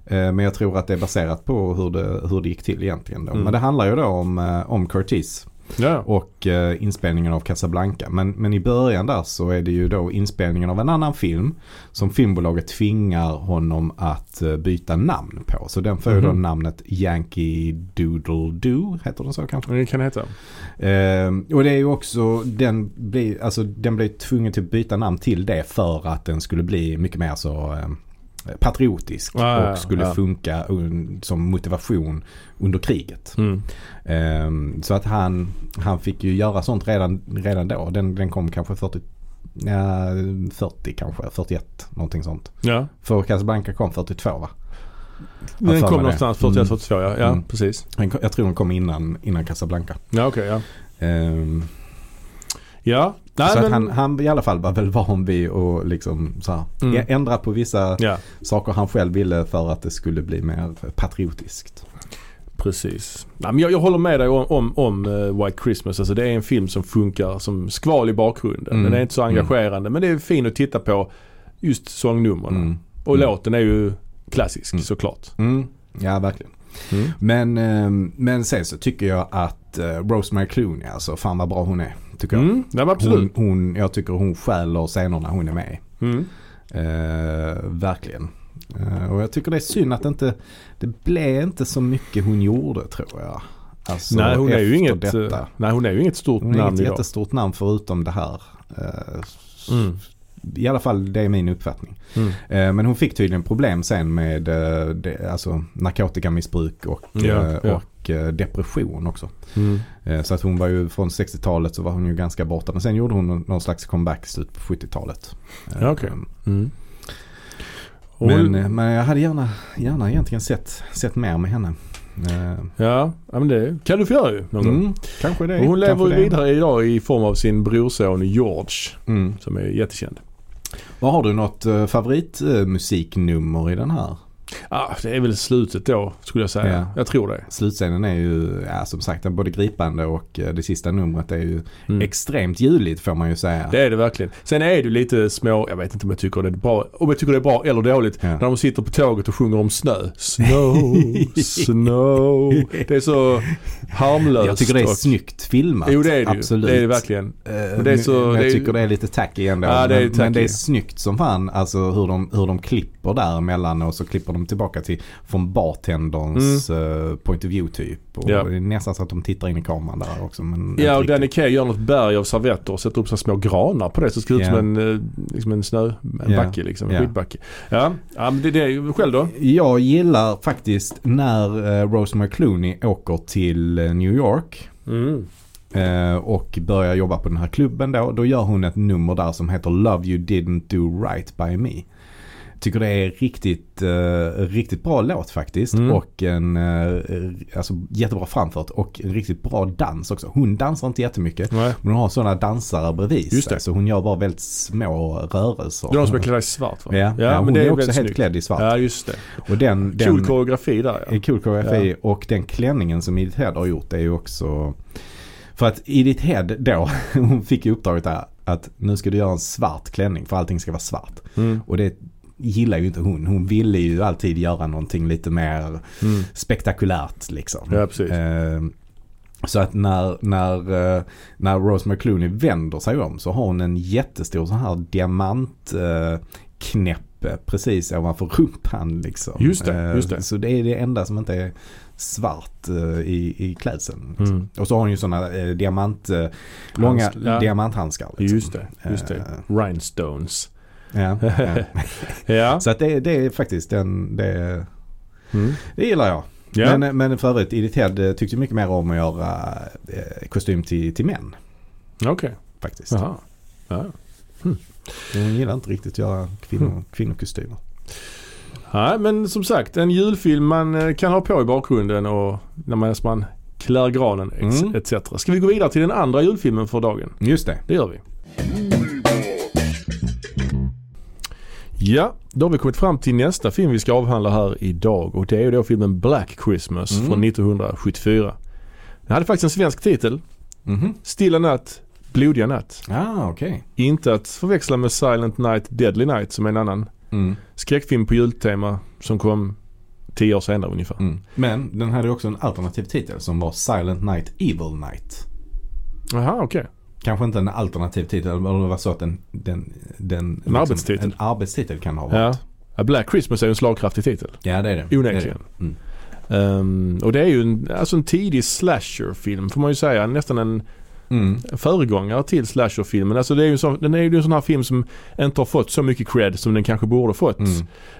Eh, Men jag tror att det är baserat på hur det, hur det gick till egentligen. Då. Mm. Men det handlar ju då om, eh, om Curtis Ja. och eh, inspelningen av Casablanca. Men, men i början där så är det ju då inspelningen av en annan film som filmbolaget tvingar honom att eh, byta namn på. Så den får ju då Mhm. namnet Yankee Doodle Doo, heter den så kanske? Det kan det heta. Ehm, och det är ju också, den blir, alltså den blir tvungen till att byta namn till det för att den skulle bli mycket mer så eh, patriotisk Ja, ja, ja, och skulle ja. funka un, som motivation under kriget. Mm. Ehm, så att han, han fick ju göra sånt redan, redan då. Den, den kom kanske 40, ja, 40 kanske, 41 någonting sånt. Ja. För Casablanca kom 42 va? för Den mig kom det. någonstans Mm. 41-42 ja. Ja, Mm. precis. Den kom- Jag tror den kom innan, innan Casablanca. Ja, okej ja. Ehm, Ja. så Nej, att men, han, han i alla fall var väl van vid att liksom så här, Mm. ä- ändra på vissa ja, saker han själv ville för att det skulle bli mer patriotiskt. precis. Nej, men jag, jag håller med dig om, om, om eh, White Christmas. Alltså det är en film som funkar som skval i bakgrunden. Mm. Den är inte så engagerande men det är fin att titta på just sångnumren. Mm. Och Mm. låten är ju klassisk Mm. såklart. Mm. Ja, verkligen. Mm. Men, ehm, men sen så tycker jag att eh, Rosemary Clooney, alltså fan vad bra hon är. Tycker jag. Mm. Ja, men Hon, absolut. hon, jag tycker hon stjäler scenerna hon är med i. Mm. Eh, verkligen. Eh, och jag tycker det är synd att det inte, det blev inte så mycket hon gjorde tror jag. Alltså, Nej, hon är ju efter inget, eh, Detta. nej, hon är ju inget stort Hon är namn inget idag. jättestort namn förutom det här. Eh, Mm. I alla fall det är min uppfattning. Mm. Eh, Men hon fick tydligen problem sen med eh, det, alltså, narkotikamissbruk och, Ja, eh, ja. och eh, depression också. Mm. Eh, Så att hon var ju från 60-talet så var hon ju ganska borta. Men sen gjorde hon någon- någon slags comeback i slutet på 70-talet. Eh, Ja, okej. Mm. Och Men, hon- eh, men jag hade gärna, gärna egentligen sett, sett mer med henne. Eh, Ja, ja, men det kan du få göra ju någon gång. Mm, kanske det. Och hon kanske lever ju det. vidare idag i form av sin brorson George Mm. som är jättekänd. Vad har du något eh, favoritmusiknummer i den här? Ah, det är väl slutet då skulle jag säga. Ja. Jag tror det. Slutscenen är ju ja, som sagt både gripande och eh, det sista numret är ju Mm. extremt ljudligt får man ju säga. Det är det verkligen. Sen är det ju lite små, jag vet inte om jag tycker det är bra, om jag tycker det är bra eller dåligt, Ja. när de sitter på tåget och sjunger om snö. Snow, snow. Det är så harmlöst. jag tycker det är och- snyggt filmat. Jo det är det Absolut. ju. Det är det verkligen. Eh, Men det är så- men det jag är- tycker det är lite tacky ändå. Ja, det är men, men det är tacky. snyggt som fan alltså hur de, hur de klipper där emellan och så klipper de tillbaka till från bartenderns eh, point of view typ. Och Mm. Ja. Det är nästan så att de tittar in i kameran där också. Men Ja och inte Danny riktigt. Kaye gör något berg av servetter och sätter upp så här små granar på det så det ser ut Ja. som en, eh, liksom en snö, en Ja. backe liksom, en Ja. skidbacke. Ja, ja men det, det är ju själv då. Jag gillar faktiskt när eh, Rosemary Clooney åker till eh, New York. Mm. Eh, och börjar jobba på den här klubben då. Då gör hon ett nummer där som heter Love You Didn't Do Right By Me. Tycker det är riktigt, eh, riktigt bra låt faktiskt. Mm. Och en eh, alltså, jättebra framfört och en riktigt bra dans också. Hon dansar inte jättemycket. Nej. Men hon har sådana dansare bredvid Just sig. det. Så hon gör bara väldigt små rörelser. Det är de som är klädda i svart va? Ja, ja, hon är, också väldigt helt snyggt. klädd i svart. Ja just det. Och den, den, Cool koreografi där ja. är cool koreografi och den klänningen som Edith Head har gjort är ju också... För att Edith Head då, hon fick ju uppdraget där att nu ska du göra en svart klänning för allting ska vara svart. Mm. Och det gillar ju inte hon. Hon ville ju alltid göra någonting lite mer Mm. spektakulärt liksom. Ja precis. Eh, Så att när, när, eh, när Rose McClooney vänder sig om så har hon en jättestor sån här diamantknäppe eh, precis ovanför rumpan. Liksom. Just det, Eh, just det. Så det är det enda som inte är svart eh, i, i klädseln. Liksom. Mm. Och så har hon ju såna eh, diamant, eh, långa Handsk- ja. diamanthandskar. Liksom. Just det, just det. eh. Rhinestones. Ja, ja. Ja. Så att det, det är faktiskt den, det, Mm. det gillar jag. ja. Men, eh, men för övrigt, Edith Head eh, tyckte mycket mer om att göra eh, kostym till, till män. Okej. Faktiskt. Jaha. Ja. Hon gillar inte riktigt att göra kvinnor, kvinnokostymer. Nej men som sagt en julfilm man eh, kan ha på i bakgrunden och när man, när man klär granen ex- Mm. etc. Ska vi gå vidare till den andra julfilmen för dagen? Just det. Det gör vi. Ja, då har vi kommit fram till nästa film vi ska avhandla här idag och det är ju då filmen Black Christmas Mm. från 1974. Den hade faktiskt en svensk titel, Mhm. Stilla natt, blodiga natt. Ah, okej. Inte att förväxla med Silent Night, Deadly Night som är en annan Mm, skräckfilm på jultema som kom tio år senare ungefär. mm. Men den hade också en alternativ titel som var Silent Night Evil Night. Jaha, okej. Kanske inte en alternativ titel, men det var så att den... den, den en arbetstitel. En arbetstitel kan ha Ja. varit. Ja, Black Christmas är ju en slagkraftig titel. Ja, Mm. det är det. Onekligen. Det är det. Ehm, och det är ju en, alltså en tidig slasherfilm får man ju säga. Nästan en Mm. föregångare till slasherfilmen. Alltså det är ju en sån, den är ju en sån här film som inte har fått så mycket cred som den kanske borde ha fått. Mm.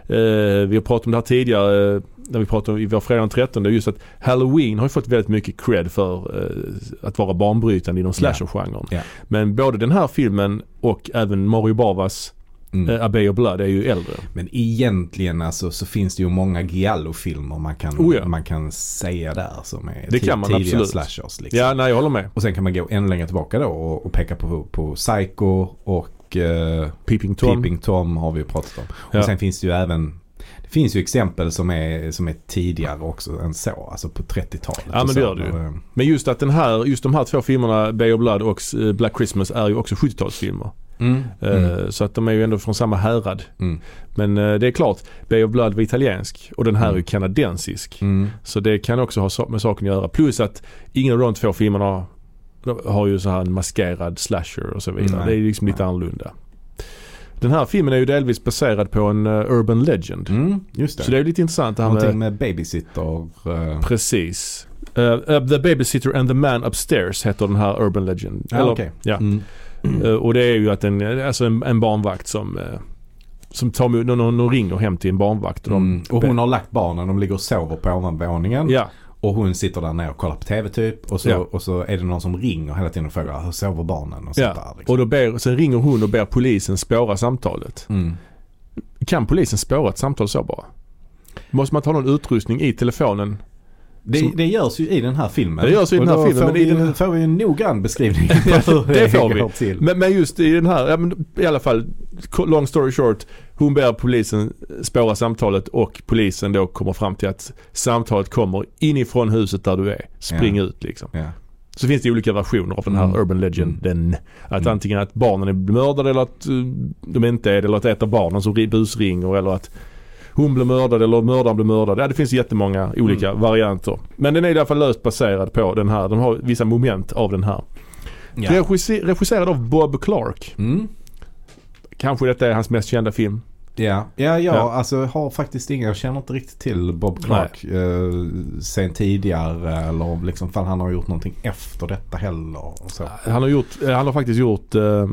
Eh, vi har pratat om det här tidigare eh, när vi pratade om i vår fredag den 13. Det är just att Halloween har ju fått väldigt mycket cred för eh, att vara banbrytande inom Ja. slasher-genren. Ja. Men både den här filmen och även Mario Bavas Mm. eh, Abbey of Blood är ju äldre. Men egentligen alltså, så finns det ju många Giallo-filmer man kan, Oh ja. man kan säga där som är Det ti- kan man tidiga absolut. slashers. Liksom. Ja, nej jag håller med. Och sen kan man gå ännu längre tillbaka då och, och peka på, på Psycho och eh, Peeping Tom. Peeping Tom har vi ju pratat om. Ja. Och sen finns det ju även det finns ju exempel som är, som är tidigare också än så, alltså på 30-talet. Ja, men och så. det gör det ju. Eh, Men just att den här, just de här två filmerna, Bay of Blood och eh, Black Christmas, är ju också 70-talsfilmer. Mm. Eh, Mm. Så att de är ju ändå från samma härad. Mm. Men eh, det är klart, Bay of Blood var italiensk och den här är ju Mm. kanadensisk. Mm. Så det kan också ha sa- med saken att göra. Plus att ingen av de två filmerna har ju så här en maskerad slasher och så vidare. Nej. Det är ju liksom lite Nej. annorlunda. Den här filmen är ju delvis baserad på en eh, urban legend. Mm. Just det. Så det är ju lite intressant det här med Någonting med babysitter. eh, Precis. Eh, eh, the Babysitter and the Man Upstairs heter den här Urban Legend. Ja, Eller, okej. ja. mm. Eh, och det är ju att en, alltså en, en barnvakt som, eh, som tar emot, någon, någon ringer hem till en barnvakt. Och de, Mm. Och hon har lagt barnen, de ligger och sover på ovanvåningen. Ja, Och hon sitter där nere och kollar på TV typ. Och så, Ja. och så är det någon som ringer hela tiden och frågar hur sover barnen? Och sånt ja. där. Liksom. Och då ber, sen ringer hon och ber polisen spåra samtalet. Mm. Kan polisen spåra ett samtal så bara? Måste man ta någon utrustning i telefonen? Det, Som- det görs ju i den här filmen. Det görs i den här och då filmen, Får men i vi, ju- den- får vi en noggrann beskrivning på hur det får vi. går till. Men, men just i den här, ja, men i alla fall, ko- long story short. Hon ber polisen spåra samtalet och polisen då kommer fram till att samtalet kommer inifrån huset där du är. Spring ut liksom. Ja. Så finns det olika versioner av den här Mm. urban legenden. Att Mm. antingen att barnen är mördade eller att eh, de inte är det. Eller att ett av barnen som ri- busringer eller att hon blir mördad eller mördaren blir mördad. Ja, det finns jättemånga olika Mm. varianter. Men den är i alla fall löst baserad på den här. Den har vissa moment av den här. Ja. Regisser- regisserad av Bob Clark. Mm. Kanske detta är hans mest kända film. Ja. Ja, ja, Ja. alltså jag har faktiskt inga, jag känner inte riktigt till Bob Clark eh, sen tidigare eller om liksom, fan han har gjort någonting efter detta heller. Och så. Han har, gjort, eh, han har faktiskt gjort eh,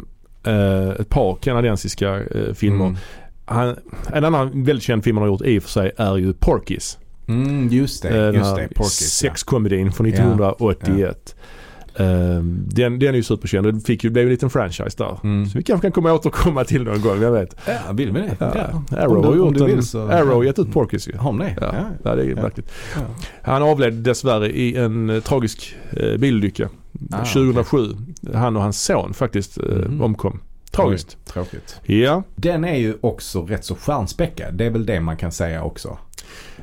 eh, ett par kanadensiska eh, filmer. Mm. Han, en annan väldigt känd film han har gjort i och för sig är ju Porkis. Mm, just Eh, det, den just här det. Porkis. Sexkomedin från 1981. Ehm, den, den är ju superkänd och den fick ju, blev ju en liten franchise där. Ja. Mm. Så vi kanske kan komma och återkomma till någon gång, jag vet. Ja, vill vi det? Ja. Ja. Arrow Om du- har om gjort du en, vill så- Arrow har gett ut Porkis ju. Har de det? Ja. Ja. Ja, det är ju Ja. märkligt. Ja. Han avled dessvärre i en eh, tragisk eh, bilolycka. Ah, 2007. Han och hans son faktiskt eh, Mhm. omkom. Tragiskt. Tråkigt. Ja. Den är ju också rätt så stjärnspäckad. Det är väl det man kan säga också.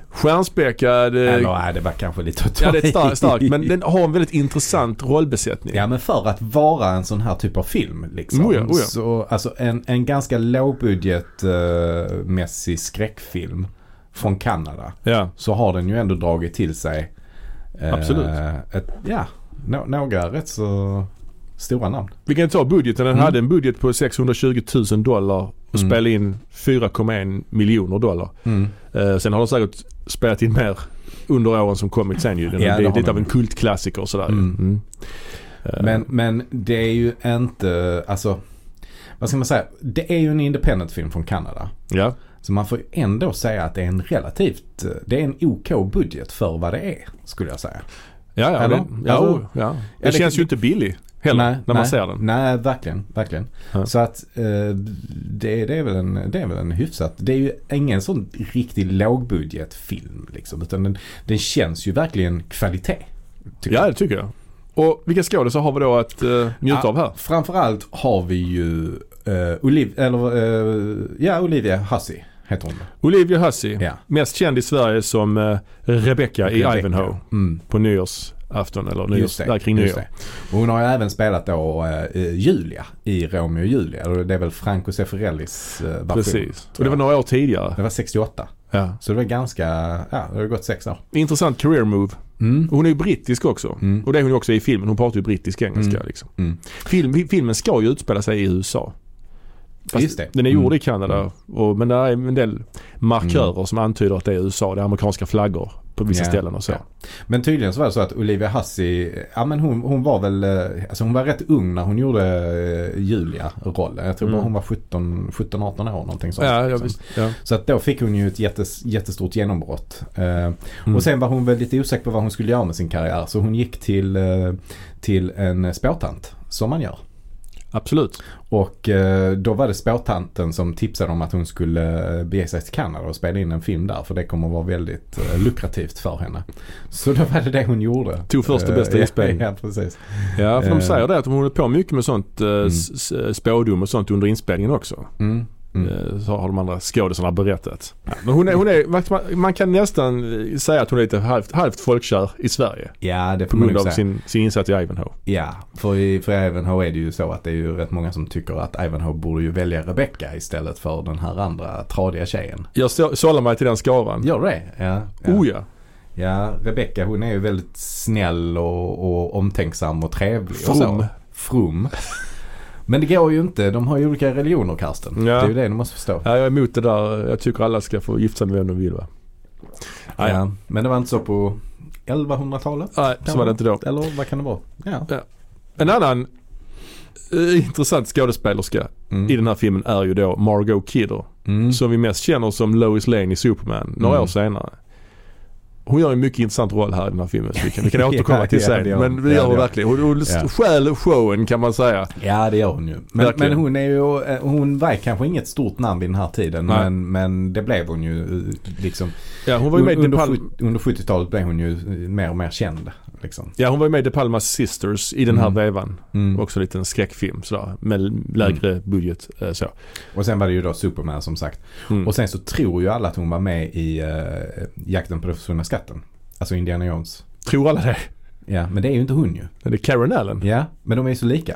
Stjärnspäckad. eh, Eller nej, det var kanske lite att ta Ja, det är i. starkt, starkt. Men den har en väldigt intressant rollbesättning. Ja men för att vara en sån här typ av film liksom. Oja, oja. Så, alltså en, en ganska lågbudgetmässig skräckfilm från Kanada. Ja. Så har den ju ändå dragit till sig eh, Absolut. Ett, ja, nå- några rätt så stora namn. Vi kan ta budgeten. Den Mm. hade en budget på 620 000 dollar och Mm. spelade in 4,1 miljoner dollar. Eh, sen har de säkert spelat in mer under åren som kommit sen ju. Den Ja, ja, det det är har lite de. av en kultklassiker och sådär. ju. Mm. Mm. Eh, Men, men det är ju inte, alltså vad ska man säga? Det är ju en independent film från Kanada. ja. Så man får ju ändå säga att det är en relativt, eh, det är en OK budget för vad det är skulle jag säga. Ja, ja, Eller? det, ja, Alltså- oh, ja. det, Ja, det känns kan- ju inte billig heller Nej, när man nej. ser den. Nej, verkligen. verkligen. Ja. Så att eh, det, det, är väl en, det är väl en hyfsat, det är ju ingen sån riktig lågbudgetfilm liksom. Utan den, den känns ju verkligen kvalitet. tycker Ja, jag. det tycker jag. Och vilka skådisar har vi då att eh, njuta Ja. av här? Framförallt har vi ju eh, Oliv, eller, eh, ja, Olivia Hussey heter hon. Olivia Hussey. Ja. Mest känd i Sverige som eh, Rebecca i Rebecca. Ivanhoe Mm. på nyårsafton eller nyårs, Just det. där kring just nyår. det. Och hon har ju även spelat då eh, Julia i Romeo och Julia. Och Det är väl Franco Zeffirellis eh, version. Precis. Och tror det var jag. några år tidigare. Det var 68. Ja. Så det var ganska, ja det har gått sex år. Intressant career move. Mm. Hon är ju brittisk också. Mm. Och det är hon ju också i filmen. Hon pratar ju brittisk engelska Mm. liksom. Mm. Film, filmen ska ju utspela sig i USA. Fast Just det. Den är gjord Mm. i Kanada. Och, men där är en del markörer som antyder att det är USA. Det är amerikanska flaggor på vissa Ja, ställen och så. ja. Men tydligen så var det så att Olivia Hussey, ja men hon, hon var väl, eh, alltså hon var rätt ung när hon gjorde eh, Julia-rollen. Jag tror bara Mm. hon var 17, 17, 18 år någonting sånt. Ja, ja, liksom. visst. Ja. Så att då fick hon ju ett jättes, jättestort genombrott. Eh, Mm. Och sen var hon väl lite osäker på vad hon skulle göra med sin karriär. Så hon gick till, eh, till en spåtant, som man gör. Absolut. Och eh, då var det spåtanten som tipsade om att hon skulle eh, bege sig till Kanada och spela in en film där. För det kommer att vara väldigt eh, lukrativt för henne. Så då var det det hon gjorde. Tog första Eh, bästa ja, inspelning. Ja, precis. Ja, för Eh. de säger det att de håller på mycket med sånt eh, s- s- spådom och sånt under inspelningen också. Mm. Mm. Eh, Så har de andra skådisarna berättat. Ja, Men hon är, hon är, man- man kan nästan eh, säga att hon är lite halvt, halvt folkkär i Sverige. Ja, det På får man grund nog av säga. sin, sin insats i Ivanhoe. Ja, för, i- för Ivanhoe är det ju så att det är ju rätt många som tycker att Ivanhoe borde ju välja Rebecca istället för den här andra tradiga tjejen. Jag så- sållar mig till den skaran. Gör du det? Ja. ja. Oh ja. Ja, Rebecca hon är ju väldigt snäll och, och omtänksam och trevlig. From. Och så. From. Men det går ju inte. De har ju olika religioner Karsten. Ja. Det är ju det du måste förstå. ja. Jag är emot det där. Jag tycker alla ska få gifta sig med vem de vill va. Ja, ja. Ja, Men det var inte så på 1100-talet? Nej, så var det inte då. Eller vad kan det vara? Ja. En annan eh, intressant skådespelerska Mm. i den här filmen är ju då Margot Kidder. Mm. Som vi mest känner som Lois Lane i Superman några Mm. år senare. Hon gör en mycket intressant roll här i den här filmen. så Vi kan, vi kan återkomma till Ja, ja, det sen. gör hon. Men det Ja, gör det hon gör verkligen. Hon, hon Ja. stjäl showen kan man säga. Ja det gör hon ju. Men, men Verkligen. hon är ju, eh, hon var kanske inget stort namn vid den här tiden. Nej. Men, men det blev hon ju eh, liksom. Ja, hon var ju med i Under, De Palma, sjut- under 70-talet blev hon ju eh, mer och mer känd. Liksom. ja, hon var ju med i De Palmas Sisters i den här Mm. vevan. Mm. Också en liten skräckfilm sådär. Med lägre budget eh, så. Och sen var det ju då Superman som sagt. Mm. Och sen så tror ju alla att hon var med i eh, Jakten på den försvunna skatten. Alltså Indiana Jones. Tror alla det? Ja, men det är ju inte hon ju. Det är Karen Allen. Ja, men de är ju så lika.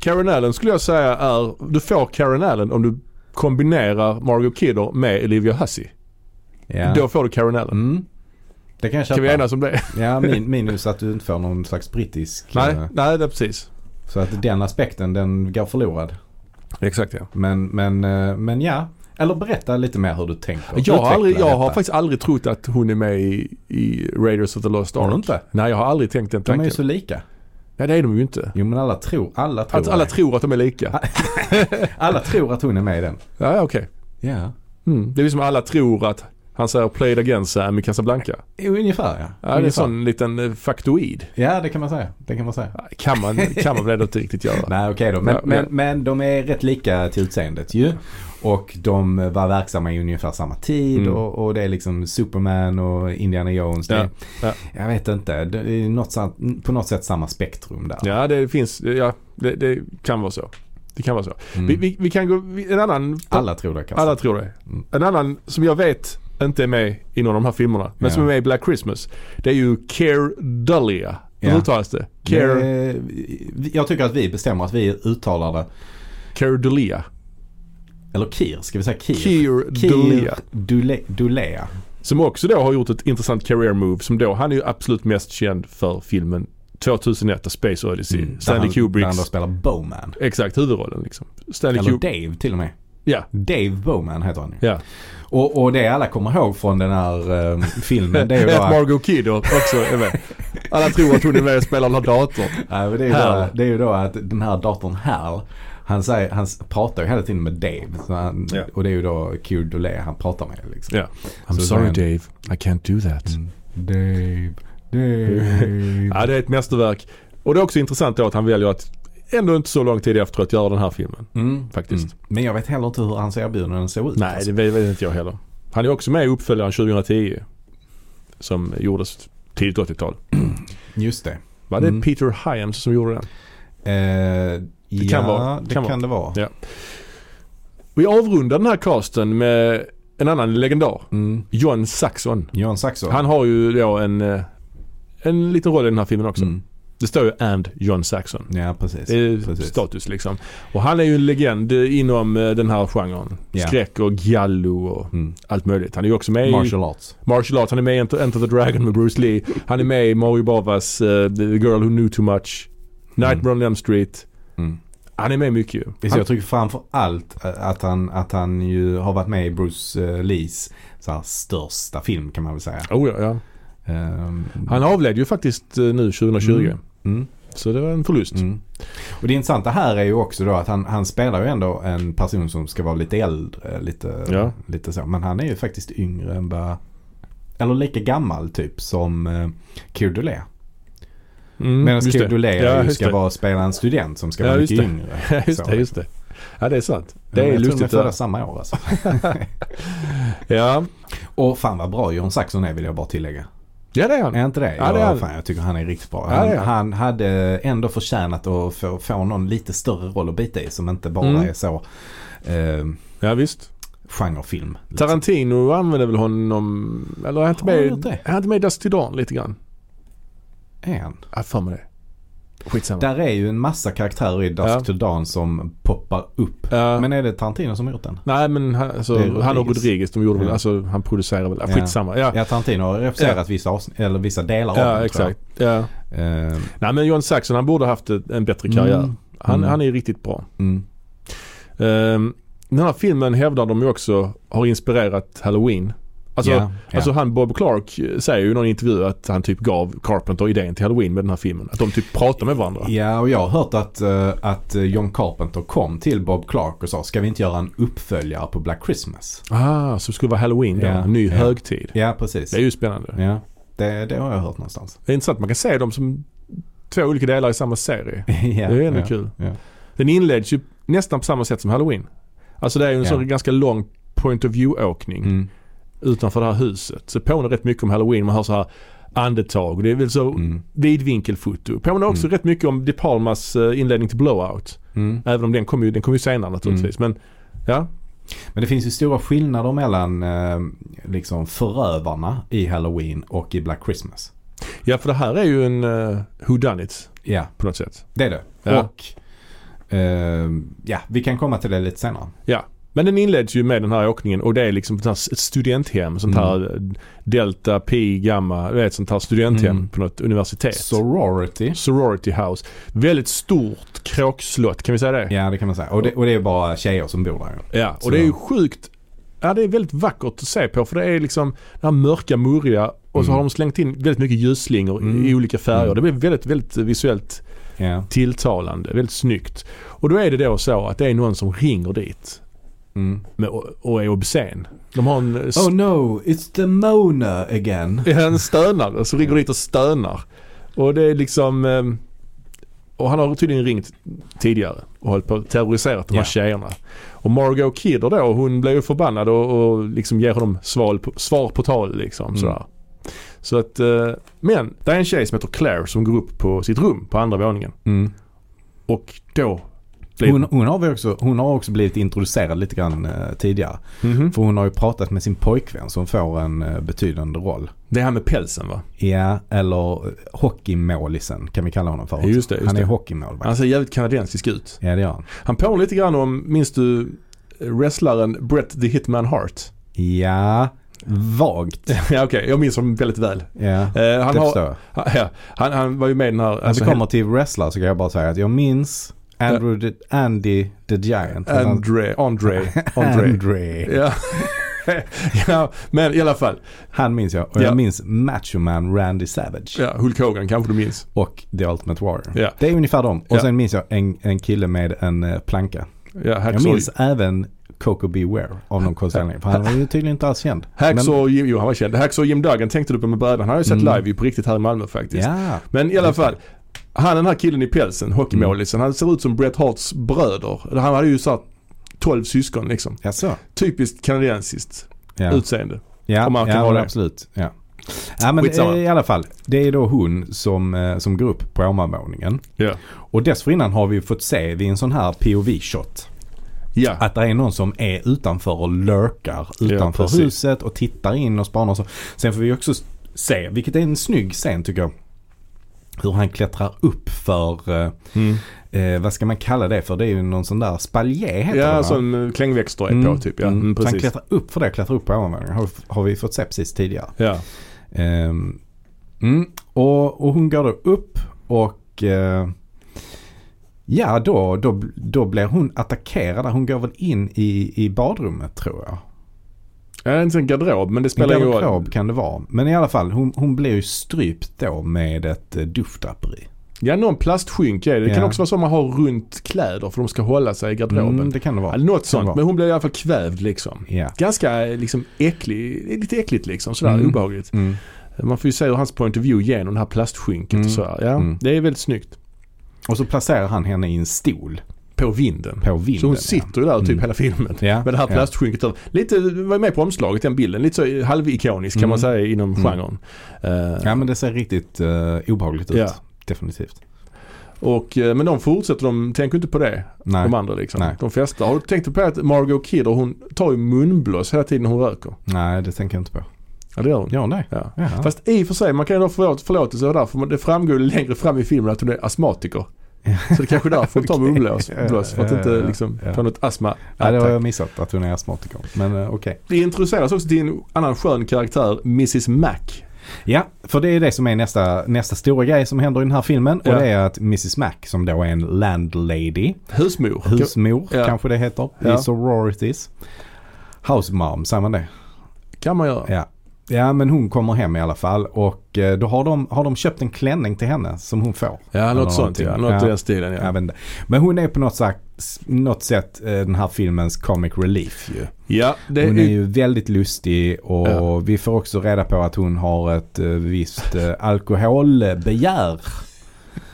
Karen Allen skulle jag säga är, du får Karen Allen om du kombinerar Margot Kidder med Olivia Hussey. Ja. Då får du Karen Allen. Mm. Det kan jag köpa. Kan vi enas om det? Ja, min, minus att du inte får någon slags brittisk. Nej, eh, nej det är precis. Så att den aspekten den går förlorad. Exakt ja. Men, men, eh, men ja. Eller berätta lite mer hur du tänker. Jag har, aldrig, Utveckla jag har detta. faktiskt aldrig trott att hon är med i, i Raiders of the Lost Ark. Har du inte? Nej, jag har aldrig tänkt den De är tanken. ju så lika. Nej, det är de ju inte. Jo men alla tror, alla tror, Att alla tror att de är lika. alla tror att hon är med i den. Ja, ja, okej. Ja. Mm. Det är liksom alla tror att han säger “Played against Sam i Casablanca”. Ungefär ja. Ja, det är en Ungefär. sån liten eh, faktoid. ja det kan man säga. Det kan man säga. Ja, Kan man, kan man väl ändå inte riktigt göra. Nej okej då. Men, Ja, men, ja. men de är rätt lika till utseendet ju. Och de var verksamma i ungefär samma tid Mm. och, och det är liksom Superman och Indiana Jones. Det, Ja, ja. Jag vet inte. Det är något, sam- på något sätt samma spektrum där. Ja, det finns, ja, det, det kan vara så. Det kan vara så. Mm. Vi, vi, vi kan gå, vi- en annan Alla tror det kanske. Alla tror det. Mm. En annan som jag vet inte är med i någon av de här filmerna, men Ja. som är med i Black Christmas. Det är ju Care Dahlia. Hur Ja. uttalas det? Care, Eh, vi- Jag tycker att vi bestämmer att vi uttalar det. Care Dahlia. Eller Kir, ska vi säga Kir? Keir Keir Dahlia. Dule- Dulea. Som också då har gjort ett intressant career move som då, han är ju absolut mest känd för filmen 2001 A Space Odyssey. Stanley Där Mm. han- Där han då Kubricks, spelar Bowman. exakt huvudrollen liksom. Stanley Eller Kubrick. Dave till och med. Ja, Dave Bowman heter han ju. ja. Och, och det alla kommer ihåg från den här eh, filmen det är ju då Att att, Margot Kidder också är med. Alla tror att hon är med och spelar den här datorn. Nej, men det, är ju då, Hal. det är ju då att den här datorn Hal, han, säger, han pratar ju hela tiden med Dave. Så han, Ja. Och det är ju då Keir Dulea han pratar med liksom. Ja. I'm Så sorry den- Dave, I can't do that. Dave, Dave. Ja, det är ett mästerverk. Och det är också intressant då att han väljer att ändå inte så lång tid efter att göra den här filmen. Mm. Faktiskt. Mm. Men jag vet heller inte hur hans erbjudanden såg ut. Nej, det vet, vet inte jag heller. Alltså. Han är också med i uppföljaren 2010. Som gjordes tidigt 80-tal. Just det. Var det Mm. Peter Hyams som gjorde den? Eh, det ja, kan vara. det Kan kan, det vara. Ja. Vi avrundar den här casten med en annan legendar. Mm. John Saxon. Johan Saxon. Han har ju då en, eh, en liten roll i den här filmen också. Mm. Det står ju And John Saxon. Ja, precis. Det är Precis. status liksom. Och han är ju en legend eh, inom eh, den här genren. Ja. Skräck och giallo och Mm. allt möjligt. Han är ju också med i Martial arts. Martial Arts. Han är med i Enter, Enter the Dragon med Bruce Lee. Han är med i Mario Bavas eh, The Girl Who Knew Too Much. Nightmare on Elm Street. Mm. Han är med mycket ju. Så Han, jag tycker framför allt eh, att han, att han ju har varit med i Bruce eh, Lees så här, största film kan man väl säga. oh ja, ja. Ehm, Han avled ju faktiskt eh, nu 2020. Mm. mm, Så det var en förlust. mm. Och det intressanta här är ju också då att han, han spelar ju ändå en person som ska vara lite äldre. Lite, Ja. lite så. Men han är ju faktiskt yngre än bara... Eller lika gammal typ som eh, Keir Dulé. Mm, Medan just Keir det. Dulé Ja, ju just ska det. vara, spela en student som ska Ja, vara just mycket det. yngre. Ja, just Så. det, just det. Ja, det är sant. Det Ja, är jag tror de är lustigt. födda där. samma år alltså. Ja. Och fan vad bra John Saxon är vill jag bara tillägga. ja, det är han. Är inte det? Ja, det är jag, han. fan, jag tycker han är riktigt bra. Ja, Han, det är han. han hade ändå förtjänat att få, få någon lite större roll att bita i som inte bara Mm. är så eh, Ja, visst. genrefilm. Liksom. Tarantino använder väl honom... Eller är han inte Har han med, gjort det? är han inte med i Dusty Dawn lite grann? En. Jag har för mig det. Skitsamma. Där är ju en massa karaktärer i Dusk Ja. to Dawn som poppar upp. Ja. Men är det Tarantino som har gjort den? Nej men han, Det är alltså, Rodriguez. han och Rodriguez de gjorde väl, Ja. alltså han producerar väl, ja. Ja. skitsamma. Ja, ja, Ja, Tarantino har refuserat vissa, avsnitt, eller vissa delar av den exakt. Ja. tror jag. Eh, Nej men John Saxon han borde haft ett- en bättre karriär. Mm. Han, Mm. han är riktigt bra. mm. Ehm, den här filmen hävdar de ju också har inspirerat Halloween. Alltså, Ja, ja. alltså han Bob Clark eh, säger ju i någon intervju att han typ gav Carpenter idén till Halloween med den här filmen. Att de typ pratar med varandra. Ja, och jag har hört att, eh, att John Carpenter kom till Bob Clark och sa ska vi inte göra en uppföljare på Black Christmas? Ah, så det skulle vara Halloween då. Ja, en ny ja. högtid. Ja, precis. Det är ju spännande. Ja, det, det har jag hört någonstans. Det är intressant. Man kan se dem som två olika delar i samma serie. ja, det är ändå ja. kul. ja. Den inleds ju nästan på samma sätt som Halloween. Alltså det är ju en Ja. sån ganska lång point of view-åkning Mm. utanför det här huset. Så påminner rätt mycket om Halloween. Man hör så här andetag och det är väl så Mm. vidvinkelfoto. Påminner också rätt mycket om De Palmas eh, inledning till Blowout. Mm. Även om den kom ju, den kom ju senare naturligtvis. Men ja, Men det finns ju stora skillnader mellan eh, liksom förövarna i Halloween och i Black Christmas. ja för det här är ju en uh, Who Done It Ja, på något sätt. det är det. Ja. Och eh, ja, vi kan komma till det lite senare. Ja. Men den inleds ju med den här åkningen och det är liksom ett sånt här- ett studenthem. Sånt här Delta, Pi, Gamma. Det är ett sånt här studenthem Mm. på något universitet. Sorority. Sorority House. Väldigt stort kråkslott, kan vi säga det? Ja, det kan man säga. Och det, och det är bara tjejer som bor där. ju. Ja, och Så- det är ju sjukt. Ja, det är väldigt vackert att se på för det är liksom det här mörka, murriga och så Mm. har de slängt in väldigt mycket ljusslingor i- Mm. i olika färger. Mm. Det blir väldigt, väldigt visuellt Ja. tilltalande, väldigt snyggt. Och då är det då så att det är någon som ringer dit Mm. med, och är obscen. De har en, s- Oh no, it's the Mona again. en stönare som ringer dit och stönar. Och det är liksom... eh, Och han har tydligen ringt tidigare och hållit på att terrorisera de här Ja. tjejerna. Och Margot Kidder då, hon blir ju förbannad och, och liksom ger honom svar på, svar på tal liksom Mm. sådär. Så att, eh, men det är en tjej som heter Claire som går upp på sitt rum på andra våningen. Mm. Och då blir Hon, hon, har väl också, hon har också blivit introducerad lite grann eh, tidigare. Mhm. För hon har ju pratat med sin pojkvän som får en eh, betydande roll. Det här med pälsen va? Ja, eller eh, hockeymålisen kan vi kalla honom för. också. Just det, just han är det. hockeymålvakt. Han ser jävligt kanadensisk ut. Ja, det gör han. Han påminner lite grann om, minns du eh, wrestlaren Brett the Hitman Hart? Ja, vagt. Ja okej, jag minns honom väldigt väl. Ja, typ Eh, han, det har, förstår jag. ja, han, han var ju med i den här... alltså, När det kommer till wrestler så kan jag bara säga att jag minns Andrew the, Andy the Giant. he- Andre, Andre, Andre. Andre. ja. ja, men i alla fall. Han minns jag. Ja. Och jag minns Macho Man Randy Savage. Ja, Hulk Hogan kanske du minns. och The Ultimate Warrior. Ja. Det är ungefär dem. Och Ja. sen minns jag en, en kille med en eh, planka. Ja, Jag Hacksaw, minns även Coco Beware av någon konstig anledning. För han var ju tydligen inte alls känd. Hacksaw Jim, jo han var känd. Hacksaw Jim Duggan tänkte du på med brädan. Han har ju sett Mm. live ju på riktigt här i Malmö faktiskt. Ja. Men i alla fall. Han den här killen i pälsen, hockeymålisen, han ser ut som Bret Harts bröder. Han hade ju såhär 12 syskon liksom. Jaså? Typiskt kanadensiskt Ja, utseende. ja, om man kan ja ha men det. absolut. Ja. Ja, men Skitsamma. eh, i alla fall. Det är då hon som, eh, som går upp på ovanvåningen. Ja. Och dessförinnan har vi ju fått se vid en sån här POV-shot Ja. att det är någon som är utanför och lurkar utanför precis. huset och tittar in och spanar. och Så. Sen får vi också se, vilket är en snygg scen tycker jag, hur han klättrar upp för, eh, Mm. eh, vad ska man kalla det för? Det är ju någon sån där spaljer heter det Ja, va? som eh, klängväxter är på typ. Ja, mm. mm, Så han precis. klättrar upp för det, klättrar upp på ovanvåningen. Har, har vi fått se precis tidigare. Ja. Ehm, mm. och, och hon går då upp och eh, ja då, då, då blir hon attackerad. Hon går väl in i, i badrummet tror jag. Ja, inte en garderob men det spelar ingen roll. Garderob kan det vara. Men i alla fall, hon, hon blir ju strypt då med ett eh, duschdraperi. Ja, någon plastskynk är det. Det kan Ja. också vara så man har runt kläder för de ska hålla sig i garderoben. Mm, det kan det Ja, vara. något sånt, vara. men hon blev i alla fall kvävd liksom. Ja. Ganska eh, liksom äcklig, lite äckligt liksom sådär Mm. obehagligt. Mm. Man får ju se ur hans point of view genom det här plastskynket Mm. och sådär. Ja, Mm. det är väldigt snyggt. Och så placerar han henne i en stol På vinden. på vinden. så hon ja. sitter ju där typ Mm. hela filmen. Ja, Med det här ja. plastskynket över. Lite, var med på omslaget den bilden. Lite så halvikonisk kan Mm. man säga inom Mm. genren. Eh, Ja men det ser riktigt eh, obehagligt ut. Ja. Definitivt. och, eh, men de fortsätter, de tänker inte på det. Nej. De andra liksom. Nej. De festar. Har du tänkt på att Margot Kidder hon tar ju munblås hela tiden hon röker? Nej det tänker jag inte på. Ja det gör hon. Ja nej. Ja. Ja. Fast i och för sig, man kan ju då få förlåtelse där för det framgår ju längre fram i filmen att hon är astmatiker. Så det kanske är därför hon tar Okej. munblås blås, för att Ja, ja, inte ja. liksom Ja. få något astma. ja, det har jag missat att hon är astmatiker. Men eh, okej. Det introduceras också till en annan skön karaktär, Mrs Mac. Ja, för det är det som är nästa, nästa stora grej som händer i den här filmen. Ja. Och det är att Mrs Mac som då är en landlady, Husmor. husmor Ja. kanske det heter, Ja. i sororities. House mom, säger man det? Kan man göra. Ja. Ja men hon kommer hem i alla fall och eh, då har de, har de köpt en klänning till henne som hon får. Ja, Eller något sånt ja. någonting. Något Ja. i den stilen Jag ja. vet inte. Men hon är på något sätt, något sätt eh, den här filmens comic relief ju. Ja, det Hon är är, ju väldigt lustig och Ja. vi får också reda på att hon har ett eh, visst eh, alkoholbegär.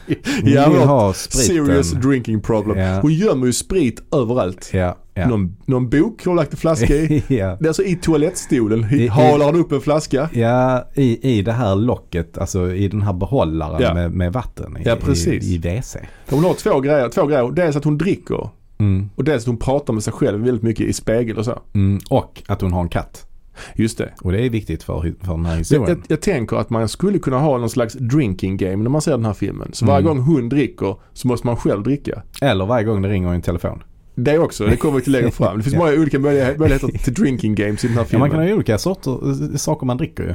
Hon Ja, vill vårt ha spriten. serious drinking problem. Ja. Hon gömmer ju sprit överallt. Ja, ja. Någon, någon bok har hon lagt en flaska i. ja. Det är Alltså i toalettstolen I- halar hon upp en flaska. Ja, i, i det här locket, alltså i den här behållaren Ja. med, med vatten i, Ja, precis. i, i WC. Hon har två grejer, två grejer. Dels att hon dricker Mm, och dels att hon pratar med sig själv väldigt mycket i spegel och så. mm, och att hon har en katt. Just det. Och det är viktigt för, för den här Jag, jag, historien. jag tänker att man skulle kunna ha någon slags drinking game när man ser den här filmen. Så varje Mm. gång hon dricker så måste man själv dricka. Eller varje gång det ringer i en telefon. Det också, det kommer vi till längre fram. Det finns Ja. många olika möjlighe- möjligheter till drinking games i den här Ja, man filmen. kan ha olika sorter, eh, saker man dricker ju.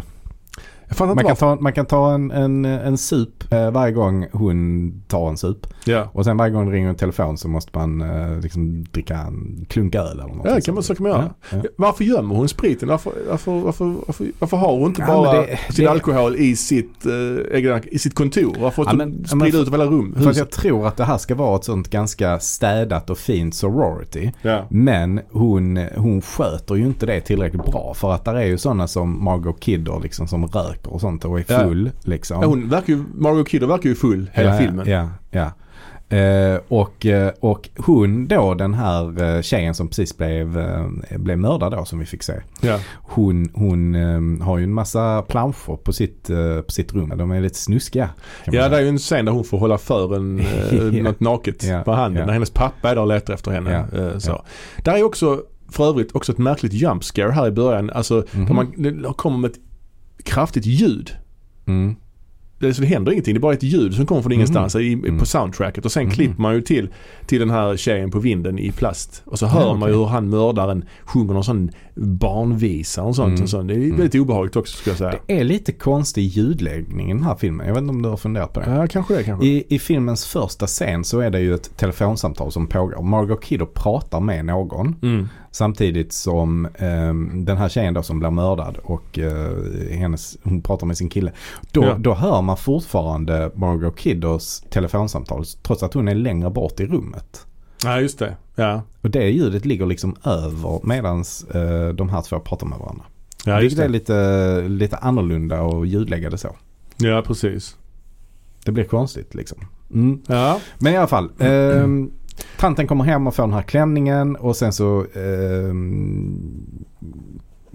jag fattar inte Man kan varför. ta, man kan ta en, en, en sup eh, varje gång hon tar en sup. Ja, Och sen varje gång det ringer en telefon så måste man eh, liksom dricka en klunk öl eller något. ja det kan man, så kan man göra. Ja, ja. Varför gömmer hon spriten? Varför, varför, varför, varför, varför har hon inte Ja, bara men det- sin det- alkohol i sitt, eh, egna- i sitt kontor? Varför Ja, ja, men- ja, men sprida för- ut över hela rum, För att huset? jag tror att det här ska vara ett sånt ganska städat och fint sorority. Ja. Men hon, hon sköter ju inte det tillräckligt bra. För att där är ju sådana som Margot Kidder liksom som röker och sånt och är Ja. full liksom. Ja, hon verkar ju, Margot Kidder verkar ju full hela ja, filmen. Ja, ja. Eh, och, eh, och hon då, den här eh, tjejen som precis blev, eh, blev mördad då som vi fick se. Ja. Hon, hon eh, har ju en massa planscher på sitt, eh, på sitt rum. De är lite snuskiga. kan man Ja, det säga. är ju en scen där hon får hålla för en, eh, Ja. något naket Ja, på handen ja. när hennes pappa är där och letar efter henne. Ja, eh, Så. Där är också för övrigt också ett märkligt jump scare här i början. Alltså där Mhm. man det kommer med ett kraftigt ljud. Mm. Det, är så det händer ingenting, det är bara ett ljud som kommer från ingenstans i, på Mm. soundtracket. Och sen Mhm. klipper man ju till, till den här tjejen på vinden i plast. Och så hör man ju okej. hur han mördaren sjunger någon sån barnvisa och sånt. Mm. Och sånt. Det är väldigt obehagligt också skulle jag säga. Det är lite konstig ljudläggning i den här filmen. Jag vet inte om du har funderat på det. Ja, kanske det kanske. I, I filmens första scen så är det ju ett telefonsamtal som pågår. Margot Kidder pratar med någon Mm. samtidigt som ehm, den här tjejen då som blir mördad och eh, hennes, hon pratar med sin kille. Då, Ja. då hör man fortfarande Margot Kidders telefonsamtal trots att hon är längre bort i rummet. Ja, just det. Ja. Och det ljudet ligger liksom över medans eh, de här två pratar med varandra. Ja, just Vilket är det. lite, lite annorlunda och ljudlägga det så. ja, precis. Det blir konstigt liksom. Mm. Ja. Men i alla fall. ehm, tanten kommer hem och får den här klänningen och sen så... ehm,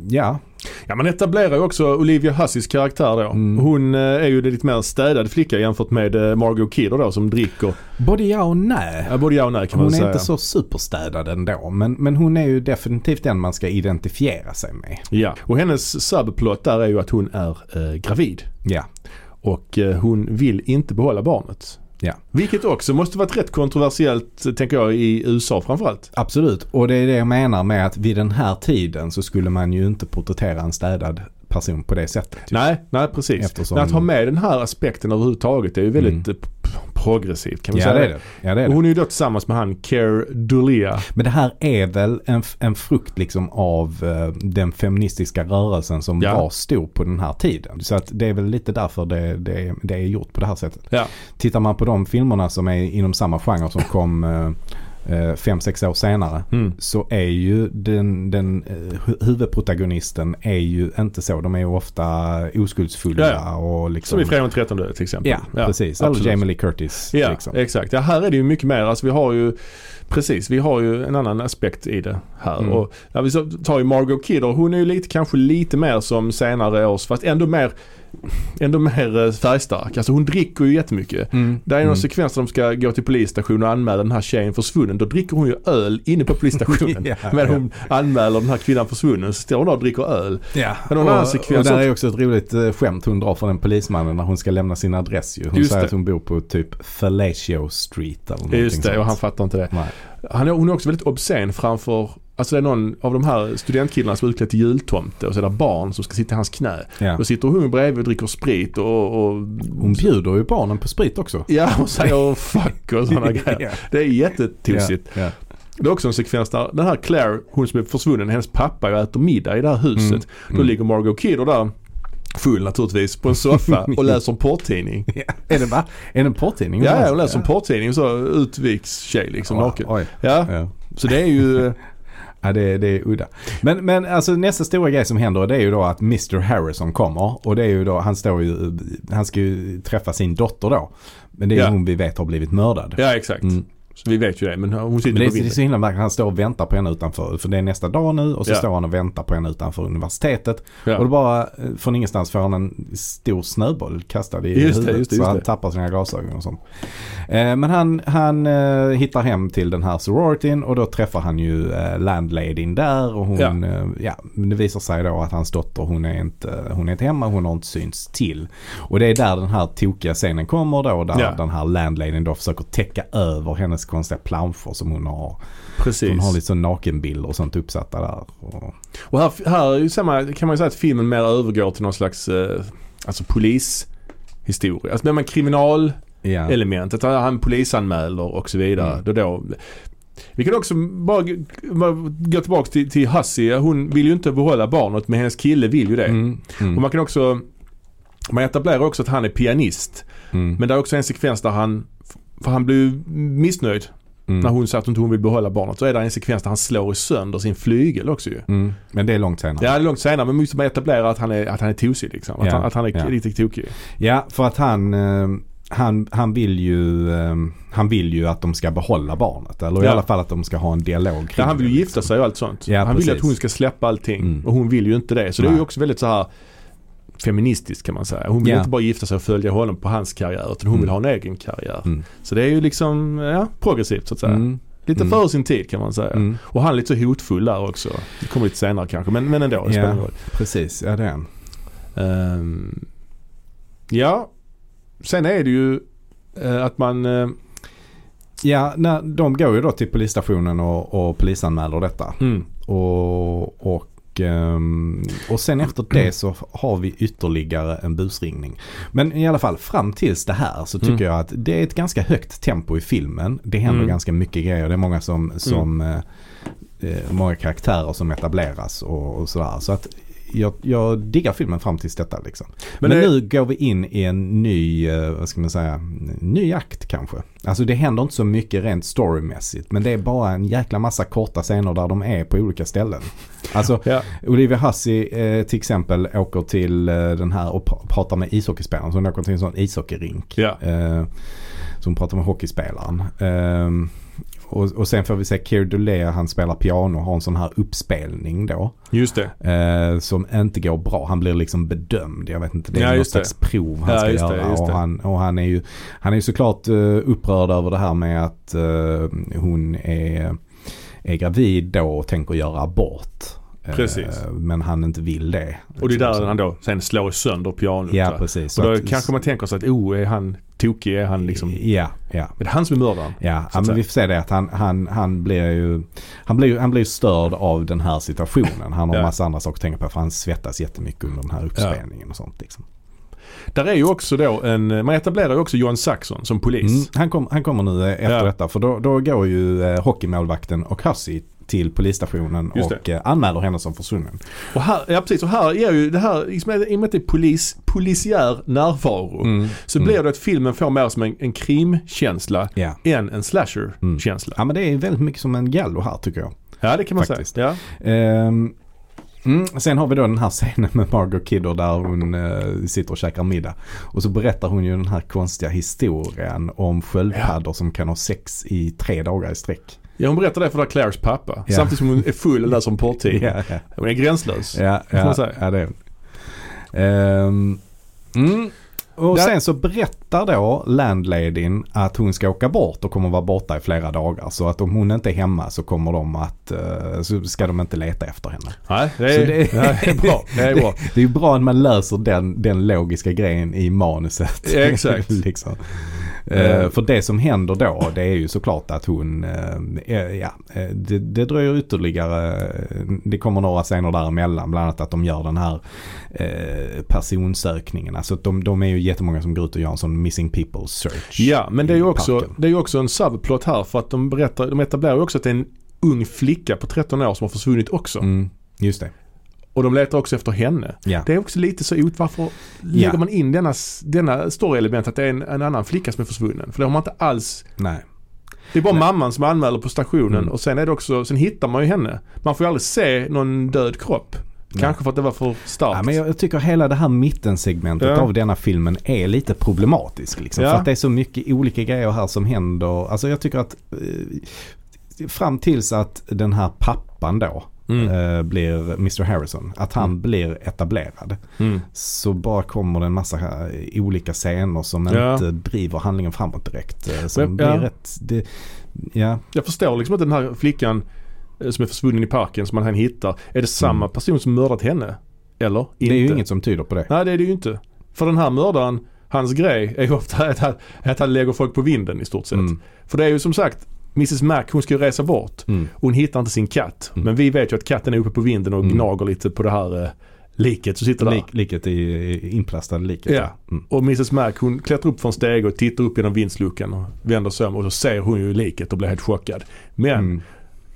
ja. ja, man etablerar ju också Olivia Hussys karaktär då. Mm. Hon eh, är ju en lite mer städad flicka jämfört med eh, Margot Kidder då som dricker. Både ja och nej. Ja, både ja och nej kan man Hon väl är säga. inte så superstädad ändå. Men, men hon är ju definitivt den man ska identifiera sig med. Ja, och hennes subplot där är ju att hon är eh, gravid. Ja. Och eh, hon vill inte behålla barnet. Ja. Vilket också måste varit rätt kontroversiellt, eh, tänker jag, i USA framförallt. Absolut, och det är det jag menar med att vid den här tiden så skulle man ju inte porträttera en städad person på det sättet. ju. Nej, nej precis. Eftersom- Men att ha med den här aspekten överhuvudtaget det är ju väldigt Mm. eh, p- progressivt kan vi Ja säga det är det. Ja, det, är Och det. hon är ju då tillsammans med han Care Dolia. Men det här är väl en, f- en frukt liksom av eh, den feministiska rörelsen som Ja. var stor på den här tiden. Så att det är väl lite därför det, det, det är gjort på det här sättet. Ja. Tittar man på de filmerna som är inom samma genre som kom eh, eh, fem sex år senare Mm. så är ju den, den eh, hu- huvudprotagonisten är ju inte så. De är ju ofta oskuldsfulla Ja, ja. och liksom... Som i Fredag den 13 till exempel. Ja, precis. Eller absolut. Jamie Lee Curtis. Ja, liksom. exakt. Ja, här är det ju mycket mer. Alltså vi har ju, precis, vi har ju en annan aspekt i det här. Mm. Och, ja, vi så tar ju Margot Kidder, hon är ju lite, kanske lite mer som senare års, fast ändå mer, ändå mer eh, färgstark. Alltså hon dricker ju jättemycket. Mm. Det är någon Mm. sekvens där de ska gå till polisstationen och anmäla den här tjejen försvunnen. Då dricker hon ju öl inne på polisstationen. Ja, Medan ja. hon anmäler den här kvinnan försvunnen så står hon där och dricker öl. Ja, Men någon och, annan sekvens och där också. är också ett roligt eh, skämt hon drar från den polismannen när hon ska lämna sin adress ju. Hon Just säger det. att hon bor på typ Fellatio Street eller någonting Just det, och han sånt. fattar inte det. Nej. Han är, hon är också väldigt obscen framför Alltså det är någon av de här studentkillarna som är utklädd till jultomte och så är det barn som ska sitta i hans knä. Ja. Då sitter hon bredvid och dricker sprit och... och Hon bjuder ju barnen på sprit också. ja, och säger fuck och sådana grejer. Ja. Det är jättetusigt. Ja. Det är också en sekvens där den här Claire, hon som är försvunnen, hennes pappa ju äter middag i det här huset. Mm. Då Mm. ligger Margot Kidder där, full naturligtvis, på en soffa och läser en porrtidning. Ja. Är det va? Är det en porrtidning? Ja, ja, hon läser en porrtidning så utviks tjej liksom naken. Oj. Ja, Ja. så det är ju... Ja, det, det är udda. Men, men alltså nästa stora grej som händer det är ju då att Mr Harrison kommer. Och det är ju då, han står ju, han ska ju träffa sin dotter då. Men det är ju Ja. hon vi vet har blivit mördad. Ja, exakt. Mm. Så vi vet ju det, men hon sitter Men på det, är, det är vinden. så himla märkligt. Han står och väntar på henne utanför. För det är nästa dag nu och så Ja. står han och väntar på henne utanför universitetet. Ja. Och då bara eh, från ingenstans får han en stor snöboll kastad i Just det, huvudet. just det, så just han det. tappar sina glasögon och sånt. Eh, men han, han eh, hittar hem till den här sororityn och då träffar han ju eh, landladyn där. Och hon, Ja. ja. Eh, ja, men det visar sig då att hans dotter hon är, inte, hon är inte hemma, hon har inte synts till. Och det är där den här tokiga scenen kommer då. Där Ja. den här landladyn då försöker täcka över hennes konstiga planscher som hon har. Hon Precis. har lite så nakenbilder och sånt uppsatta där. Och, Och här, här är ju samma, kan man ju säga att filmen mer övergår till någon slags eh, alltså polishistoria. Alltså med kriminalelementet, ja. att han polisanmäler och så vidare. Mm. Då, då. Vi kan också bara, g- bara gå tillbaka till, till Hassie. Hon vill ju inte behålla barnet men hennes kille vill ju det. Mm, Och mm, man kan också, man etablerar också att han är pianist. mm, Men det är också en sekvens där han, för han blir ju missnöjd mm, När hon sa att hon inte vill behålla barnet så är det en sekvens där han slår sönder sin flygel också ju. mm. Men det är långt senare. Det är långt senare men måste man etablera att han är, att han är tosig liksom. Att, Ja, han, att han är ja. riktigt tokig. Ja, för att han, eh, han, han, vill ju, eh, han vill ju att de ska behålla barnet. Eller i Ja. alla fall att de ska ha en dialog Ja, kring han vill det, ju liksom. gifta sig och allt sånt. Ja, han vill precis. att hon ska släppa allting Mm. och hon vill ju inte det. Så det är Nej. ju också väldigt så här feministiskt kan man säga. Hon vill Ja. inte bara gifta sig och följa honom på hans karriär utan hon Mm. vill ha en egen karriär. Mm. Så det är ju liksom ja, progressivt så att säga. Mm, Lite Mm. före sin tid kan man säga. mm, Och han är lite så hotfull där också. Det kommer lite senare kanske men, men ändå. Det spelar Ja. ingen roll. precis. Ja, det är han. Ehm, ja, sen är det ju eh, att man... eh, Ja, när, de går ju då till polisstationen och, och polisanmäler detta. Mm. Och, och, ehm, och sen efter det så har vi ytterligare en busringning. Men i alla fall fram tills det här så tycker Mm. jag att det är ett ganska högt tempo i filmen. Det händer Mm. ganska mycket grejer. Det är många som, som eh, eh, många karaktärer som etableras och, och sådär. Så att jag, jag diggar filmen fram tills detta liksom. Men, Men det- nu går vi in i en ny, eh, vad ska man säga, en ny akt kanske. Alltså det händer inte så mycket rent storymässigt. Men det är bara en jäkla massa korta scener där de är på olika ställen. Alltså ja, Olivia Hussey eh, till exempel åker till eh, den här och pra- pratar med ishockeyspelaren. Så hon åker till en sån ishockeyrink. ja. Eh, så hon pratar med hockeyspelaren. Eh, och, och sen får vi se Keir Dulea, han spelar piano och har en sån här uppspelning då. Just det. Eh, som inte går bra. Han blir liksom bedömd. Jag vet inte, det är Ja, något just slags prov han Ja, ska just det, göra. just och det. han, och han, är ju, han är ju såklart eh, upprörd över det här med att eh, hon är, är gravid då och tänker göra abort. Eh, Precis. men han inte vill det. Och det är där Så- han då sen slår sönder pianot. Ja, va? precis. Så och då att- kanske man tänker sig att oh, är han tokig? Är han liksom... Är Ja, ja. det han som är mördaren? Ja, ja men säga. vi får se det att han, han, han blir ju han blir, ju- han blir ju störd av den här situationen. Han har Ja. massa andra saker att tänka på för han svettas jättemycket under den här uppspelningen och sånt. Liksom. Där är ju också då en, eh, man etablerar ju också Johan Saxon som polis. Mm, han, kom, han kommer nu eh, efter Ja. detta för då, då går ju eh, hockeymålvakten och Hussey till polisstationen Just och eh, anmäler henne som försvunnen. Och här, ja precis, och här är ju det här, liksom, i och med att det är polis, polisiär närvaro. Så blir det att filmen får mer som en, en krimkänsla Mm. Ja. än en slasher-känsla. ja men det är väldigt mycket som en gallo här tycker jag. Ja det kan man Faktiskt. säga. Ja. Ehm, mm, sen har vi då den här scenen med Margot Kidder där hon eh, sitter och käkar middag. Och så berättar hon ju den här konstiga historien om sköldpaddor som kan ha sex i tre dagar i sträck. Ja, hon berättar det för Claires pappa. Ja. Samtidigt som hon är full och läser om porrtidning. Ja, ja. Hon är gränslös. Ja, Får man ja, säga. ja det är hon. Ehm, mm. Och Där- sen så berättar då landladyn att hon ska åka bort och kommer vara borta i flera dagar. Så att om hon inte är hemma så kommer de att, eh, så ska de inte leta efter henne. Nej, det Så är, det- ja, det är bra. Det är bra. Det är ju bra att man löser den, den logiska grejen i manuset. Ja, exakt. liksom. Eh, för det som händer då det är ju såklart att hon, eh, eh, ja, eh, det, det dröjer ytterligare, eh, det kommer några scener däremellan. Bland annat att de gör den här eh, personsökningen. Alltså att de, de är ju jättemånga som går ut och gör en sån missing people search. Ja, men det är i ju också, parken. det är ju också en subplot här för att de, berättar, de etablerar ju också att det är en ung flicka på 13 år som har försvunnit också. Mm, just det. Och de letar också efter henne. Ja. Det är också lite så ut varför lägger Ja. man in denna, s- denna story-element att det är en, en annan flicka som är försvunnen. För det har man inte alls. Nej. Det är bara Nej. mamman som anmäler på stationen Mm. och sen är det också, sen hittar man ju henne. Man får ju aldrig se någon död kropp. Nej. Kanske för att det var för starkt. Ja, men jag jag tycker hela det här mittensegmentet Ja. av denna filmen är lite problematisk. Liksom, Ja. För att det är så mycket olika grejer här som händer. Alltså jag tycker att eh, fram tills att den här pappan då Mm. eh, blir Mr Harrison, att han blir etablerad. Mm. Så bara kommer det en massa här eh, olika scener som Ja. inte driver handlingen framåt direkt. eh, Som Ja. blir rätt, det, ja, Jag förstår liksom inte den här flickan eh, som är försvunnen i parken som man han hittar. Är det samma Mm. person som mördat henne? Eller? det är ju inget som tyder på det. Nej det är det ju inte. För den här mördaren, hans grej är ju ofta att han, att han lägger folk på vinden i stort sett. Mm. För det är ju som sagt Mrs Mac hon ska ju resa bort. Mm. Hon hittar inte sin katt. Mm. Men vi vet ju att katten är uppe på vinden och Mm. gnager lite på det här eh, liket som sitter där. Lik, liket i, i inplastade liket. Ja. Mm. Och Mrs Mac hon klättrar upp för en stege och tittar upp genom vindsluckan och vänder sig om och så ser hon ju liket och blir helt chockad. Men Mm.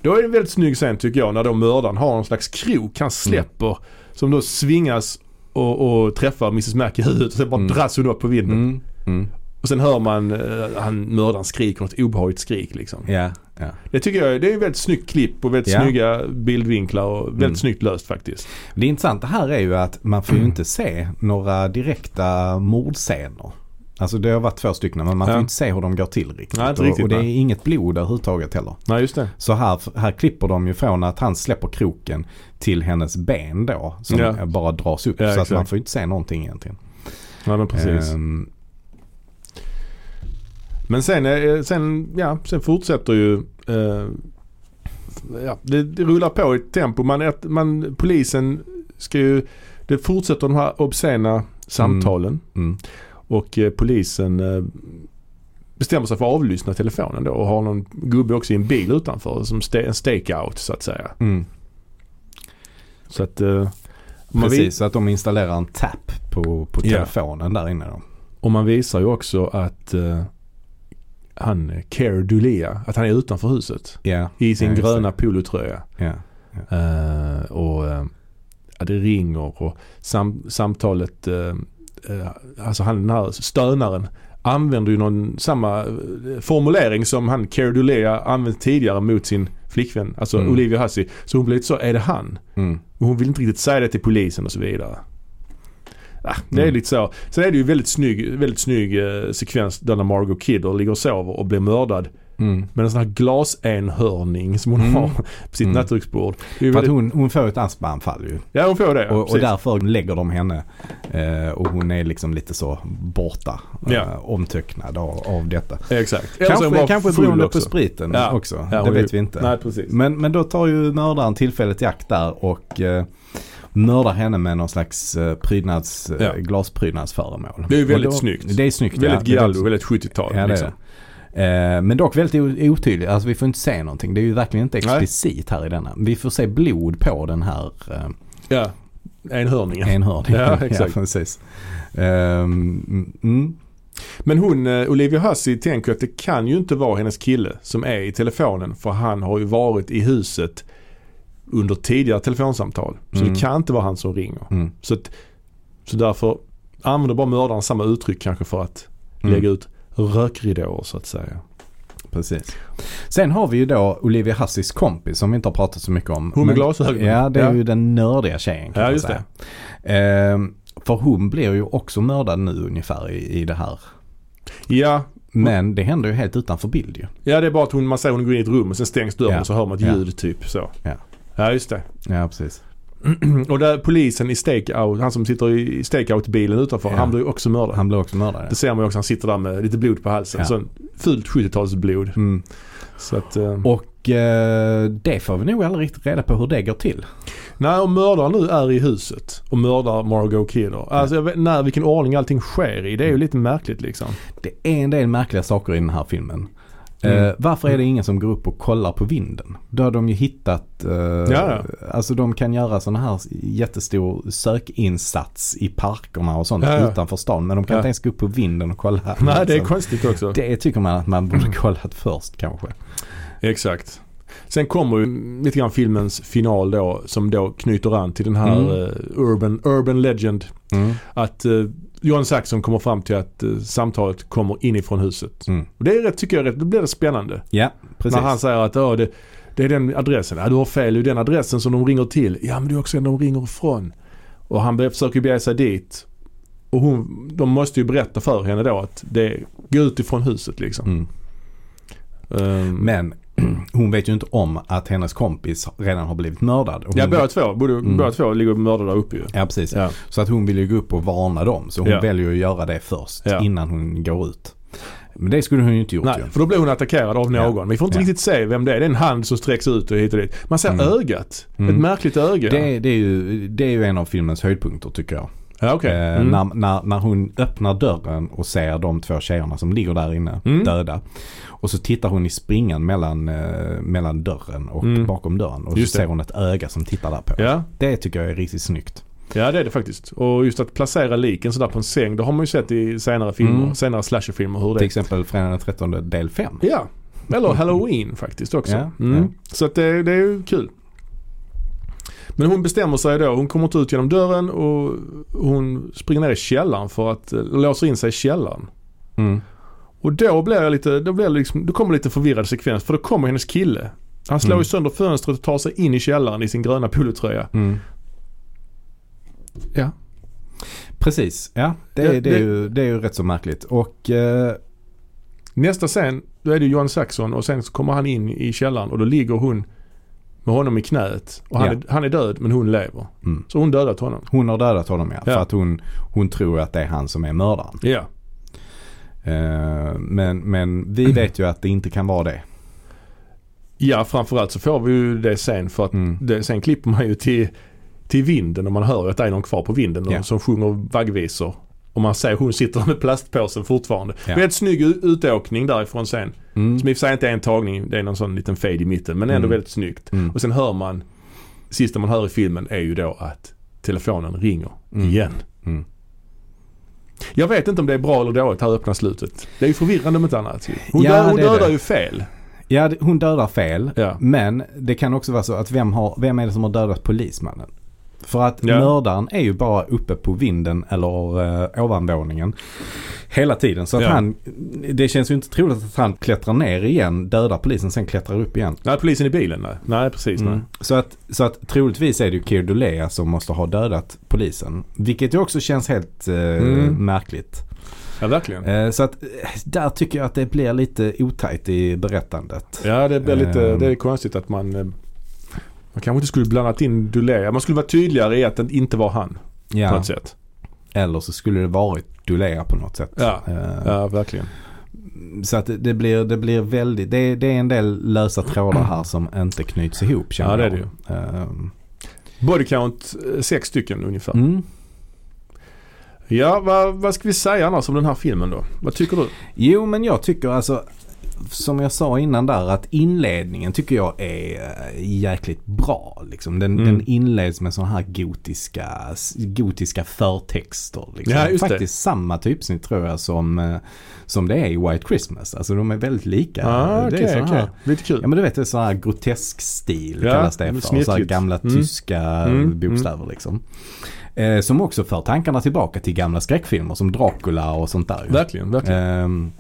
Då är det en väldigt snygg scen tycker jag när då mördaren har någon slags krok Mm. han släpper som då svingas och, och träffar Mrs Mac i huvudet och sen bara Mm. dras hon upp på vinden. Mm. Mm. Och sen hör man eh, han mördaren skriker något obehagligt skrik liksom. Ja, ja. Det tycker jag är- det är ett väldigt snyggt klipp och väldigt Ja. snygga bildvinklar och väldigt Mm. snyggt löst faktiskt. Det intressanta här är ju att man Mm. får ju inte se några direkta mordscener. Alltså det har varit två stycken men man får Ja. ju inte se hur de går till riktigt. Nej, inte riktigt, och, och det är nej. inget blod överhuvudtaget heller. Nej just det. Så här, här klipper de ju från att han släpper kroken till hennes ben då. Som Ja. bara dras upp. Ja, så exakt. att man får ju inte se någonting egentligen. Ja men precis. Ehm, Men sen, eh, sen, ja, sen fortsätter ju eh, ja, det, det rullar på i ett tempo. Man, ett, man, polisen ska ju, det fortsätter de här obscena samtalen mm, och eh, polisen eh, bestämmer sig för att avlyssna telefonen då och har någon gubbe också i en bil utanför som ste, en stakeout så att säga. mm. Så att eh, om, man vi, Precis, så att de installerar en tap på, på Ja. telefonen där inne då. och man visar ju också att eh, han, eh, Care Dulia, att han är utanför huset Ja, i sin Ja, just det. gröna polotröja. ja. Eh, och eh, ja, det ringer och sam- samtalet, eh, eh, alltså han den här stönaren använder ju någon, samma eh, formulering som han Care Dulea använt tidigare mot sin flickvän, alltså Mm. Olivia Hussey. Så hon blir lite så, är det han? Mm. Och hon vill inte riktigt säga det till polisen och så vidare. Ah, det är Mm. lite så. Sen är det ju väldigt snygg, väldigt snygg eh, sekvens där när Margot Kidder ligger och sover och blir mördad Mm. med en sån här glasenhörning som hon Mm. har på sitt Mm. nattduksbord. Det är ju För att väldigt- hon, hon får ett astmaanfall ju. Ja hon får det. ja, Och, och precis. därför lägger de henne. Eh, och hon är liksom lite så borta. Ja. Eh, omtöcknad av, av detta. Exakt. Eller så är hon Kanske, bara kanske full beroende på också. spriten Ja. också. Ja, det hon är- vet vi inte. Nej precis. Men, men då tar ju mördaren tillfället i akt där och eh, mördar henne med någon slags eh, prydnads, eh, Ja. glasprydnadsföremål. Det är ju väldigt Och då, snyggt. Det är snyggt väldigt ja. giallo, väldigt 70-tal. Ja, det är liksom. det. Eh, Men dock väldigt o- otydligt. Alltså vi får inte se någonting. Det är ju verkligen inte Nej. explicit här i denna. Vi får se blod på den här eh, ja. enhörningen. Enhörningen. Ja, exakt. precis. Ehm, mm, Men hon, eh, Olivia Hussey, tänker att det kan ju inte vara hennes kille som är i telefonen för han har ju varit i huset under tidigare telefonsamtal. Så Mm. det kan inte vara han som ringer. mm, Så, att, så därför använder bara mördaren samma uttryck kanske för att mm. lägga ut rökridåer så att säga. Precis. Sen har vi ju då Olivia Hassis kompis som vi inte har pratat så mycket om. Hon med Men- glasögon. Ja, det är Ja. ju den nördiga tjejen kan Ja, man just säga. Ehm, för hon blir ju också mördad nu ungefär i, i det här. Ja, Men det händer ju helt utanför bild ju. ja, det är bara att hon, man säger hon går in i ett rum och sen stängs dörren Ja. och så hör man ett Ja. ljud typ så. Ja. ja, just det. Mm, Ja, precis. Och där polisen i stakeout, han som sitter i stakeout-bilen utanför, Ja. han blir ju också mördad. Han blir också mördad. Det ja. ser man ju också, han sitter där med lite blod på halsen. Ja. Så fult 70-talsblod. Mm. Så att, eh, Och eh, det får vi nog aldrig riktigt reda på hur det går till. nej, och mördaren nu är i huset och mördar Margot Kidder. Alltså, jag vet, när, vilken ordning allting sker i, det är Mm. ju lite märkligt liksom. Det är en del märkliga saker i den här filmen. Mm. Eh, varför är det ingen som går upp och kollar på vinden? Då har de ju hittat, eh, ja. alltså de kan göra sådana här jättestor sökinsats i parkerna och sånt Ja, ja. utanför stan. Men de kan Ja. inte ens gå upp på vinden och kolla. Nej, det är Liksom. konstigt också. det tycker man att man borde kollat först kanske. Exakt. Sen kommer ju lite grann filmens final då som då knyter an till den här Mm. eh, urban, urban legend. Att eh, John Saxon kommer fram till att eh, samtalet kommer inifrån huset. Mm. Och det är rätt, tycker jag, rätt, då blir det spännande. Ja, precis. När han säger att "Ja, det, det är den adressen. Ja, du har fel. Det är den adressen som de ringer till. Ja, men det är också den de ringer ifrån. Och han börjar- försöker bege sig dit. Och hon, de måste ju berätta för henne då att det går ut ifrån huset liksom. Mm. Ehm, Men hon vet ju inte om att hennes kompis redan har blivit mördad. Och ja, hon- båda två, både, Mm. båda två ligger mördade där uppe ju. ja, precis. Ja. Så att hon vill ju gå upp och varna dem. Så hon Ja. väljer att göra det först Ja. innan hon går ut. Men det skulle hon ju inte gjort Nej, ju. för då blir hon attackerad av någon. Ja. Vi får inte Ja. riktigt se vem det är. Det är en hand som sträcks ut och hit och dit. Man ser Mm. ögat. Mm. Ett märkligt öga. Det, det, är ju, det är ju en av filmens höjdpunkter tycker jag. Ja, okej. Eh, Mm. när, när, när hon öppnar dörren och ser de två tjejerna som ligger där inne Mm. döda. Och så tittar hon i springan mellan, eh, mellan dörren och Mm. bakom dörren. Och Just så det. ser hon ett öga som tittar där på. Ja. Det tycker jag är riktigt snyggt. ja, det är det faktiskt. Och just att placera liken sådär på en säng. Det har man ju sett i senare filmer. Mm. Senare slasherfilmer hur Till det exempel Fredagen den 13 del 5. Ja. Eller Halloween faktiskt också. Ja, Mm. ja. Så att det, det är ju kul. Men hon bestämmer sig då. Hon kommer inte ut genom dörren och hon springer ner i källaren för att eh, låser in sig i källaren. Mm. Och då blir jag lite, då blir jag liksom, då kommer lite förvirrad sekvens för då kommer hennes kille. Han slår Mm. ju sönder fönstret och tar sig in i källaren i sin gröna polotröja. Mm. Ja. Precis, ja. Det, Ja, är- det, det- är ju, det är ju rätt så märkligt. Och eh, Nästa scen, då är det John Saxon och sen så kommer han in i källaren och då ligger hon med honom i knät. Och han, Ja. är, han är död men hon lever. Mm. Så hon dödat honom. hon har dödat honom ja. Ja. För att hon, hon tror att det är han som är mördaren. Ja. Eh, men, men vi vet ju att det inte kan vara det. Ja, framförallt så får vi ju det sen för att Mm. det, sen klipper man ju till, till vinden och man hör ju att det är någon kvar på vinden och Ja. som sjunger vaggvisor. Och man ser hon sitter med plastpåsen fortfarande. Ja. Väldigt snygg u- utåkning därifrån sen. Mm. Som i och för sig inte är en tagning, det är någon sån liten fade i mitten men ändå Mm. väldigt snyggt. Mm. Och sen hör man, sista man hör i filmen är ju då att telefonen ringer Mm. igen. Mm. Jag vet inte om det är bra eller dåligt här öppna slutet. Det är ju förvirrande om inte annat. ju. Hon, Ja, dö- hon det är dödar det. ju fel. Ja, det- hon dödar fel. Ja. Men det kan också vara så att vem, har, vem är det som har dödat polismannen? För att Ja. mördaren är ju bara uppe på vinden eller eh, ovanvåningen hela tiden. Så att Ja. han, det känns ju inte troligt att han klättrar ner igen, dödar polisen, sen klättrar upp igen. Nej, polisen i bilen nej. Nej, precis. Nej. Mm. Så, att, så att troligtvis är det ju Kirdulea som måste ha dödat polisen. Vilket ju också känns helt eh, Mm. märkligt. Ja, verkligen. Eh, så att eh, där tycker jag att det blir lite otajt i berättandet. Ja, det blir lite, Ehm. det är konstigt att man eh, man kanske inte skulle blandat in Dulea. Man skulle vara tydligare i att det inte var han på Ja. något sätt. Eller så skulle det varit Dulea på något sätt. Ja. Eh, Ja, verkligen. Så att det- det blir, det blir väldigt, det, är- det är en del lösa trådar här som inte knyts ihop känner Ja, det är jag. det ju. Ehm, Body count, eh, sex stycken ungefär. mm. Ja, vad, vad ska vi säga annars om den här filmen då? Vad tycker du? Jo men jag tycker alltså som jag sa innan där att inledningen tycker jag är eh, jäkligt bra. Liksom. Den, Mm. den inleds med sådana här gotiska, gotiska förtexter. Liksom. Ja, just det. Faktiskt samma typsnitt tror jag som, eh, som det är i White Christmas. Alltså de är väldigt lika. ah, det okej, är såna okej. här Lite kul. Ja men du vet det är så här grotesk stil Ja, kallas det för. snirkigt. Så här gamla Mm. tyska Mm, bokstäver liksom. Eh, som också för tankarna tillbaka till gamla skräckfilmer som Dracula och sånt där. ju. Verkligen, verkligen. Ehm,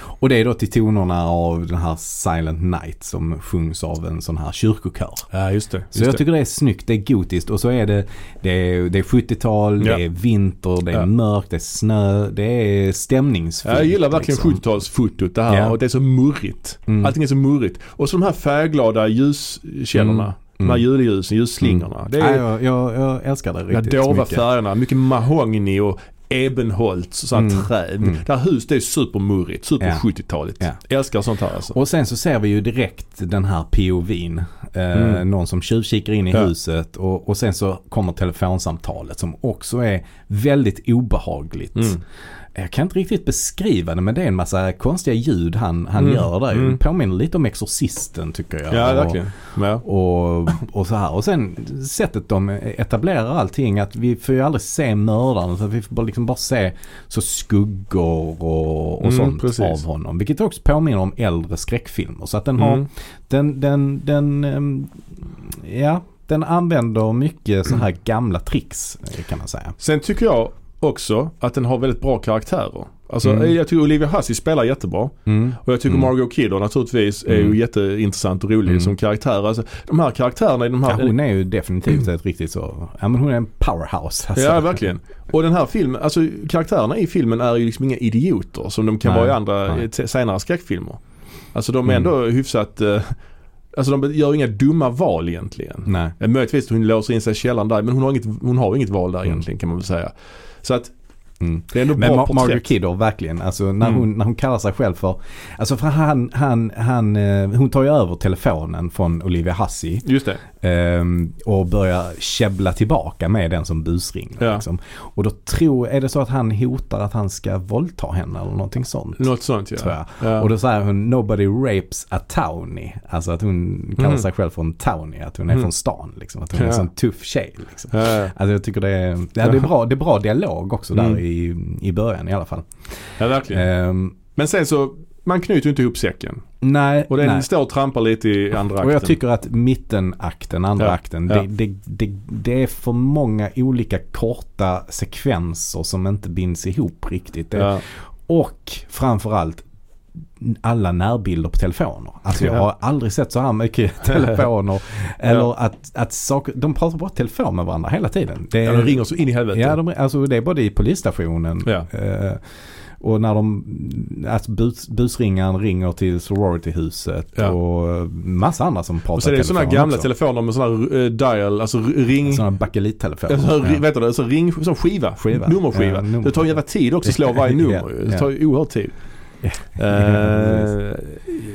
och det är då till tonerna av den här Silent Night som sjungs av en sån här kyrkokör. Ja, just det. Just Så jag det. tycker det är snyggt, det är gotiskt och så är det, det är, det är 70-tal, Ja. det är vinter, det är Ja. mörkt, det är snö, det är stämningsfullt. Ja, jag gillar verkligen liksom. 70-talsfotot det här Ja. och det är så murrigt. Mm. Allting är så murrigt. Och så de här färgglada ljuskällorna. Mm. De här julljusen, ljussslingorna. Det är Ja, jag, jag, jag älskar det de här riktigt dova mycket. färgerna. Mycket mahogny och ebenholt, sånt Mm. trä. Mm. Det här huset är supermurrigt, Ja. super-70-talet. Ja. Älskar sånt här alltså. Och sen så ser vi ju direkt den här POVn. Eh, Mm. Någon som tjuvkikar in i Ja. huset och, och sen så kommer telefonsamtalet som också är väldigt obehagligt. Mm. Jag kan inte riktigt beskriva det men det är en massa konstiga ljud han, han Mm. gör där. Mm. Det påminner lite om Exorcisten tycker jag. Ja, Och- verkligen. Ja. och, och så här. Och sen sättet de etablerar allting att vi får ju aldrig se mördaren. Så vi får bara, liksom bara se så skuggor och, och Mm, sånt precis. av honom. Vilket också påminner om äldre skräckfilmer. Så att den har, Mm. den, den, den, ehm, ja. Den använder mycket så här gamla tricks eh, kan man säga. Sen tycker jag också att den har väldigt bra karaktärer. Alltså, Mm. Jag tycker Olivia Hussey spelar jättebra. Och jag tycker Mm. Margot Kidder naturligtvis är Mm. ju jätteintressant och rolig Mm. som karaktär. Alltså, de här karaktärerna i de Ja, här... hon är ju definitivt ett riktigt så, ja men hon är en powerhouse. Alltså. Ja, verkligen. Och den här filmen, alltså karaktärerna i filmen är ju liksom inga idioter som de kan Nej, vara i andra nej. eh, te- senare skräckfilmer. Alltså de är Mm. ändå hyfsat, eh, alltså de gör inga dumma val egentligen. Nej. Eh, Möjligtvis hon låser in sig i källaren där men hon har inget, hon har inget val där Mm. egentligen kan man väl säga. Så att Mm. det är ändå Men bra Ma- porträtt. Margaret Kidder, verkligen. Alltså när, Mm. hon, när hon kallar sig själv för... Alltså för han, han, han, eh, hon tar ju över telefonen från Olivia Hussey Just det. ehm, och börjar käbbla tillbaka med den som busringer. Ja. Liksom. Och då tror, är det så att han hotar att han ska våldta henne eller någonting sånt? Något sånt ja. Tror jag. Ja. Och då säger hon “Nobody rapes a townie”. Alltså att hon kallar sig själv för en townie, att hon är Mm. från stan. Liksom. Att hon är Ja. en sån tuff tjej. Liksom. Ja, Alltså jag tycker det är, ja, det är, bra, det är bra dialog också där Mm. i, i början i alla fall. ja, verkligen. Ehm, Men sen så, man knyter ju inte ihop säcken. nej, Och den nej. står och trampar lite i andra akten. Och jag tycker att mittenakten, andra Ja, akten, ja. Det, det, det, det är för många olika korta sekvenser som inte binds ihop riktigt. Det, Ja. Och framförallt alla närbilder på telefoner. Alltså jag Ja. har aldrig sett så här mycket telefoner. Eller att, att saker, de pratar bara telefon med varandra hela tiden. Det, Ja, de ringer så in i helvete. Ja, de, alltså det är både i polisstationen Ja. eh, och när de, alltså bus, busringaren ringer till sororityhuset Ja. och massa andra som pratar och sen är det sådana telefon gamla också. telefoner med sådana här eh, dial, alltså r- ring... Sådana bakelittelefoner. Alltså, Ja. Mm. vet du, det, alltså ring, sån skiva, Skiva. nummerskiva. Ja, nummer- Det tar en jävla tid också att slå varje nummer Ja, ju. Det tar ju oerhört tid. Eh,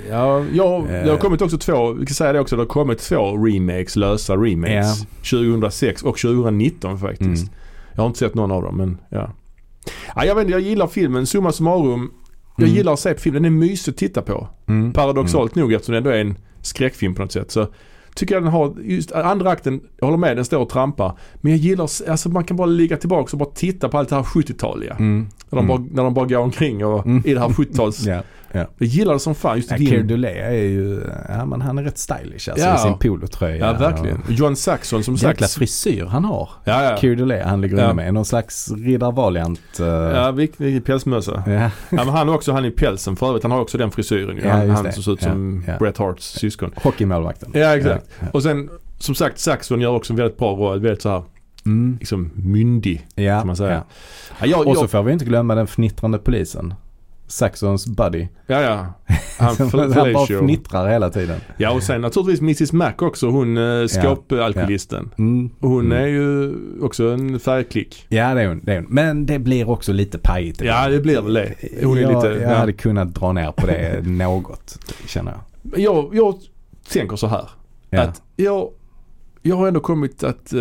ja, jag, det har Eh. kommit också två, vi kan säga det också, det har kommit två remakes, lösa remakes. 2006 och 2019 faktiskt. Mm. Jag har inte sett någon av dem men ja. ja jag vet inte, jag gillar filmen, summa summarum. Jag Mm. gillar att se på filmen, den är mysig att titta på. Mm. Paradoxalt nog eftersom det ändå är en skräckfilm på något sätt så tycker jag den har, just andra akten, jag håller med den står och trampar. Men jag gillar, alltså man kan bara ligga tillbaka och bara titta på allt det här 70-taliga. Mm. När, de Mm. bara, när de bara går omkring och Mm. i det här 70-tals... Ja. Jag gillar det som fan, just Ja, vin- Keir Dulé är ju, ja men han är rätt stylish alltså Ja. i sin polotröja. Ja, verkligen. Och John Saxon som Och jäkla sagt. frisyr han har. Ja, ja. Keir Dulé, han ligger Ja. inne med. Någon slags Riddar Valiant. eh, Ja, viktig pälsmössa. ja. Ja, men han är också, han i pälsen för övrigt, han har också den frisyren ju. Ja, han just han det. som ser ut Ja, som ja. Bret Harts syskon. Hockeymålvakten. Ja, exakt. Ja, Och sen, som sagt, Saxon gör också en väldigt bra roll. Väldigt så här, Mm. liksom myndig. Ja, Kan man säga. ja. Ja, jag, Och så jag, får vi inte glömma den fnittrande polisen. Saxons buddy. ja, ja. Han, Som fel- han bara fellatio. fnittrar hela tiden. Ja, och sen naturligtvis Mrs Mac också, hon eh, skåpalkoholisten. Mm. Och Hon Mm. är ju också en färgklick. Ja det är, hon, det är hon. Men det blir också lite pajigt. Eh, Ja, det blir väl det. Hon är jag, lite... jag ja. hade kunnat dra ner på det något, känner jag. jag, jag tänker så här. Ja. Att jag, jag har ändå kommit att eh,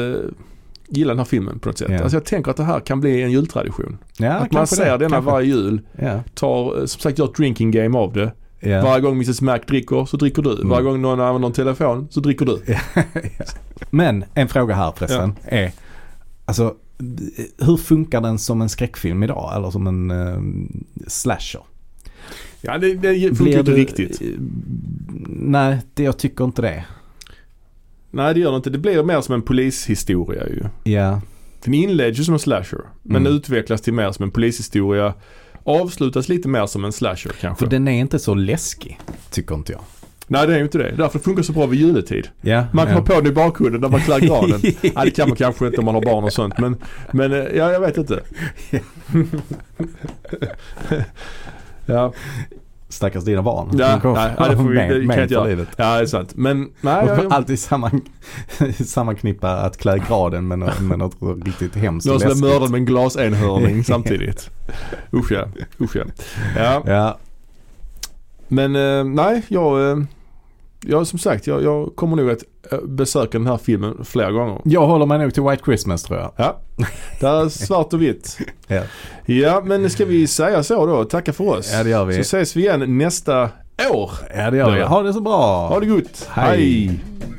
gillar den här filmen på något sätt. Ja. Alltså jag tänker att det här kan bli en jultradition. Ja, att man kanske det, ser denna kanske. varje jul, Ja, tar eh, som sagt gör ett drinking game av det. ja. Varje gång Mrs Mac dricker så dricker du. Mm. Varje gång någon använder en telefon så dricker du. Men en fråga här förresten är, alltså hur funkar den som en skräckfilm idag eller som en eh, slasher? Ja det, det funkar Blir ju inte du- riktigt. eh, Nej, det, jag tycker inte det. Nej det gör det inte. Det blir mer som en polishistoria ju. Ja, Den inleds ju som en slasher. Men Mm. utvecklas till mer som en polishistoria. Avslutas lite mer som en slasher kanske. för den är inte så läskig, tycker inte jag. Nej det är ju inte det. Därför funkar det så bra vid juletid. Ja, Man kan ja. ha på den i bakgrunden när man klär granen. Nej det kan man kanske inte om man har barn och sånt. Men, men eh, ja, jag vet inte. ja. Stackars dina barn. Ja, De kommer- nej, nej, det får vi- med- det kan med jag inte för göra. livet. ja, det är sant. Men nej. Jag, Alltid samman, sammanknippa att klä graden med något, med något riktigt hemskt någon som läskigt. blev mördad med en glasenhörning samtidigt. Usch ja. Usch ja. ja. Ja, Men eh, nej, jag, eh, jag som sagt, jag, jag kommer nog att eh, besöka den här filmen flera gånger. jag håller mig nog till White Christmas tror jag. Ja, där är svart och vitt. Ja. Ja, men ska vi säga så då? Tacka för oss. Ja, det gör vi. Så ses vi igen nästa år. Ja, det gör vi. Ha det så bra. Ha det gott. Hej. Hej.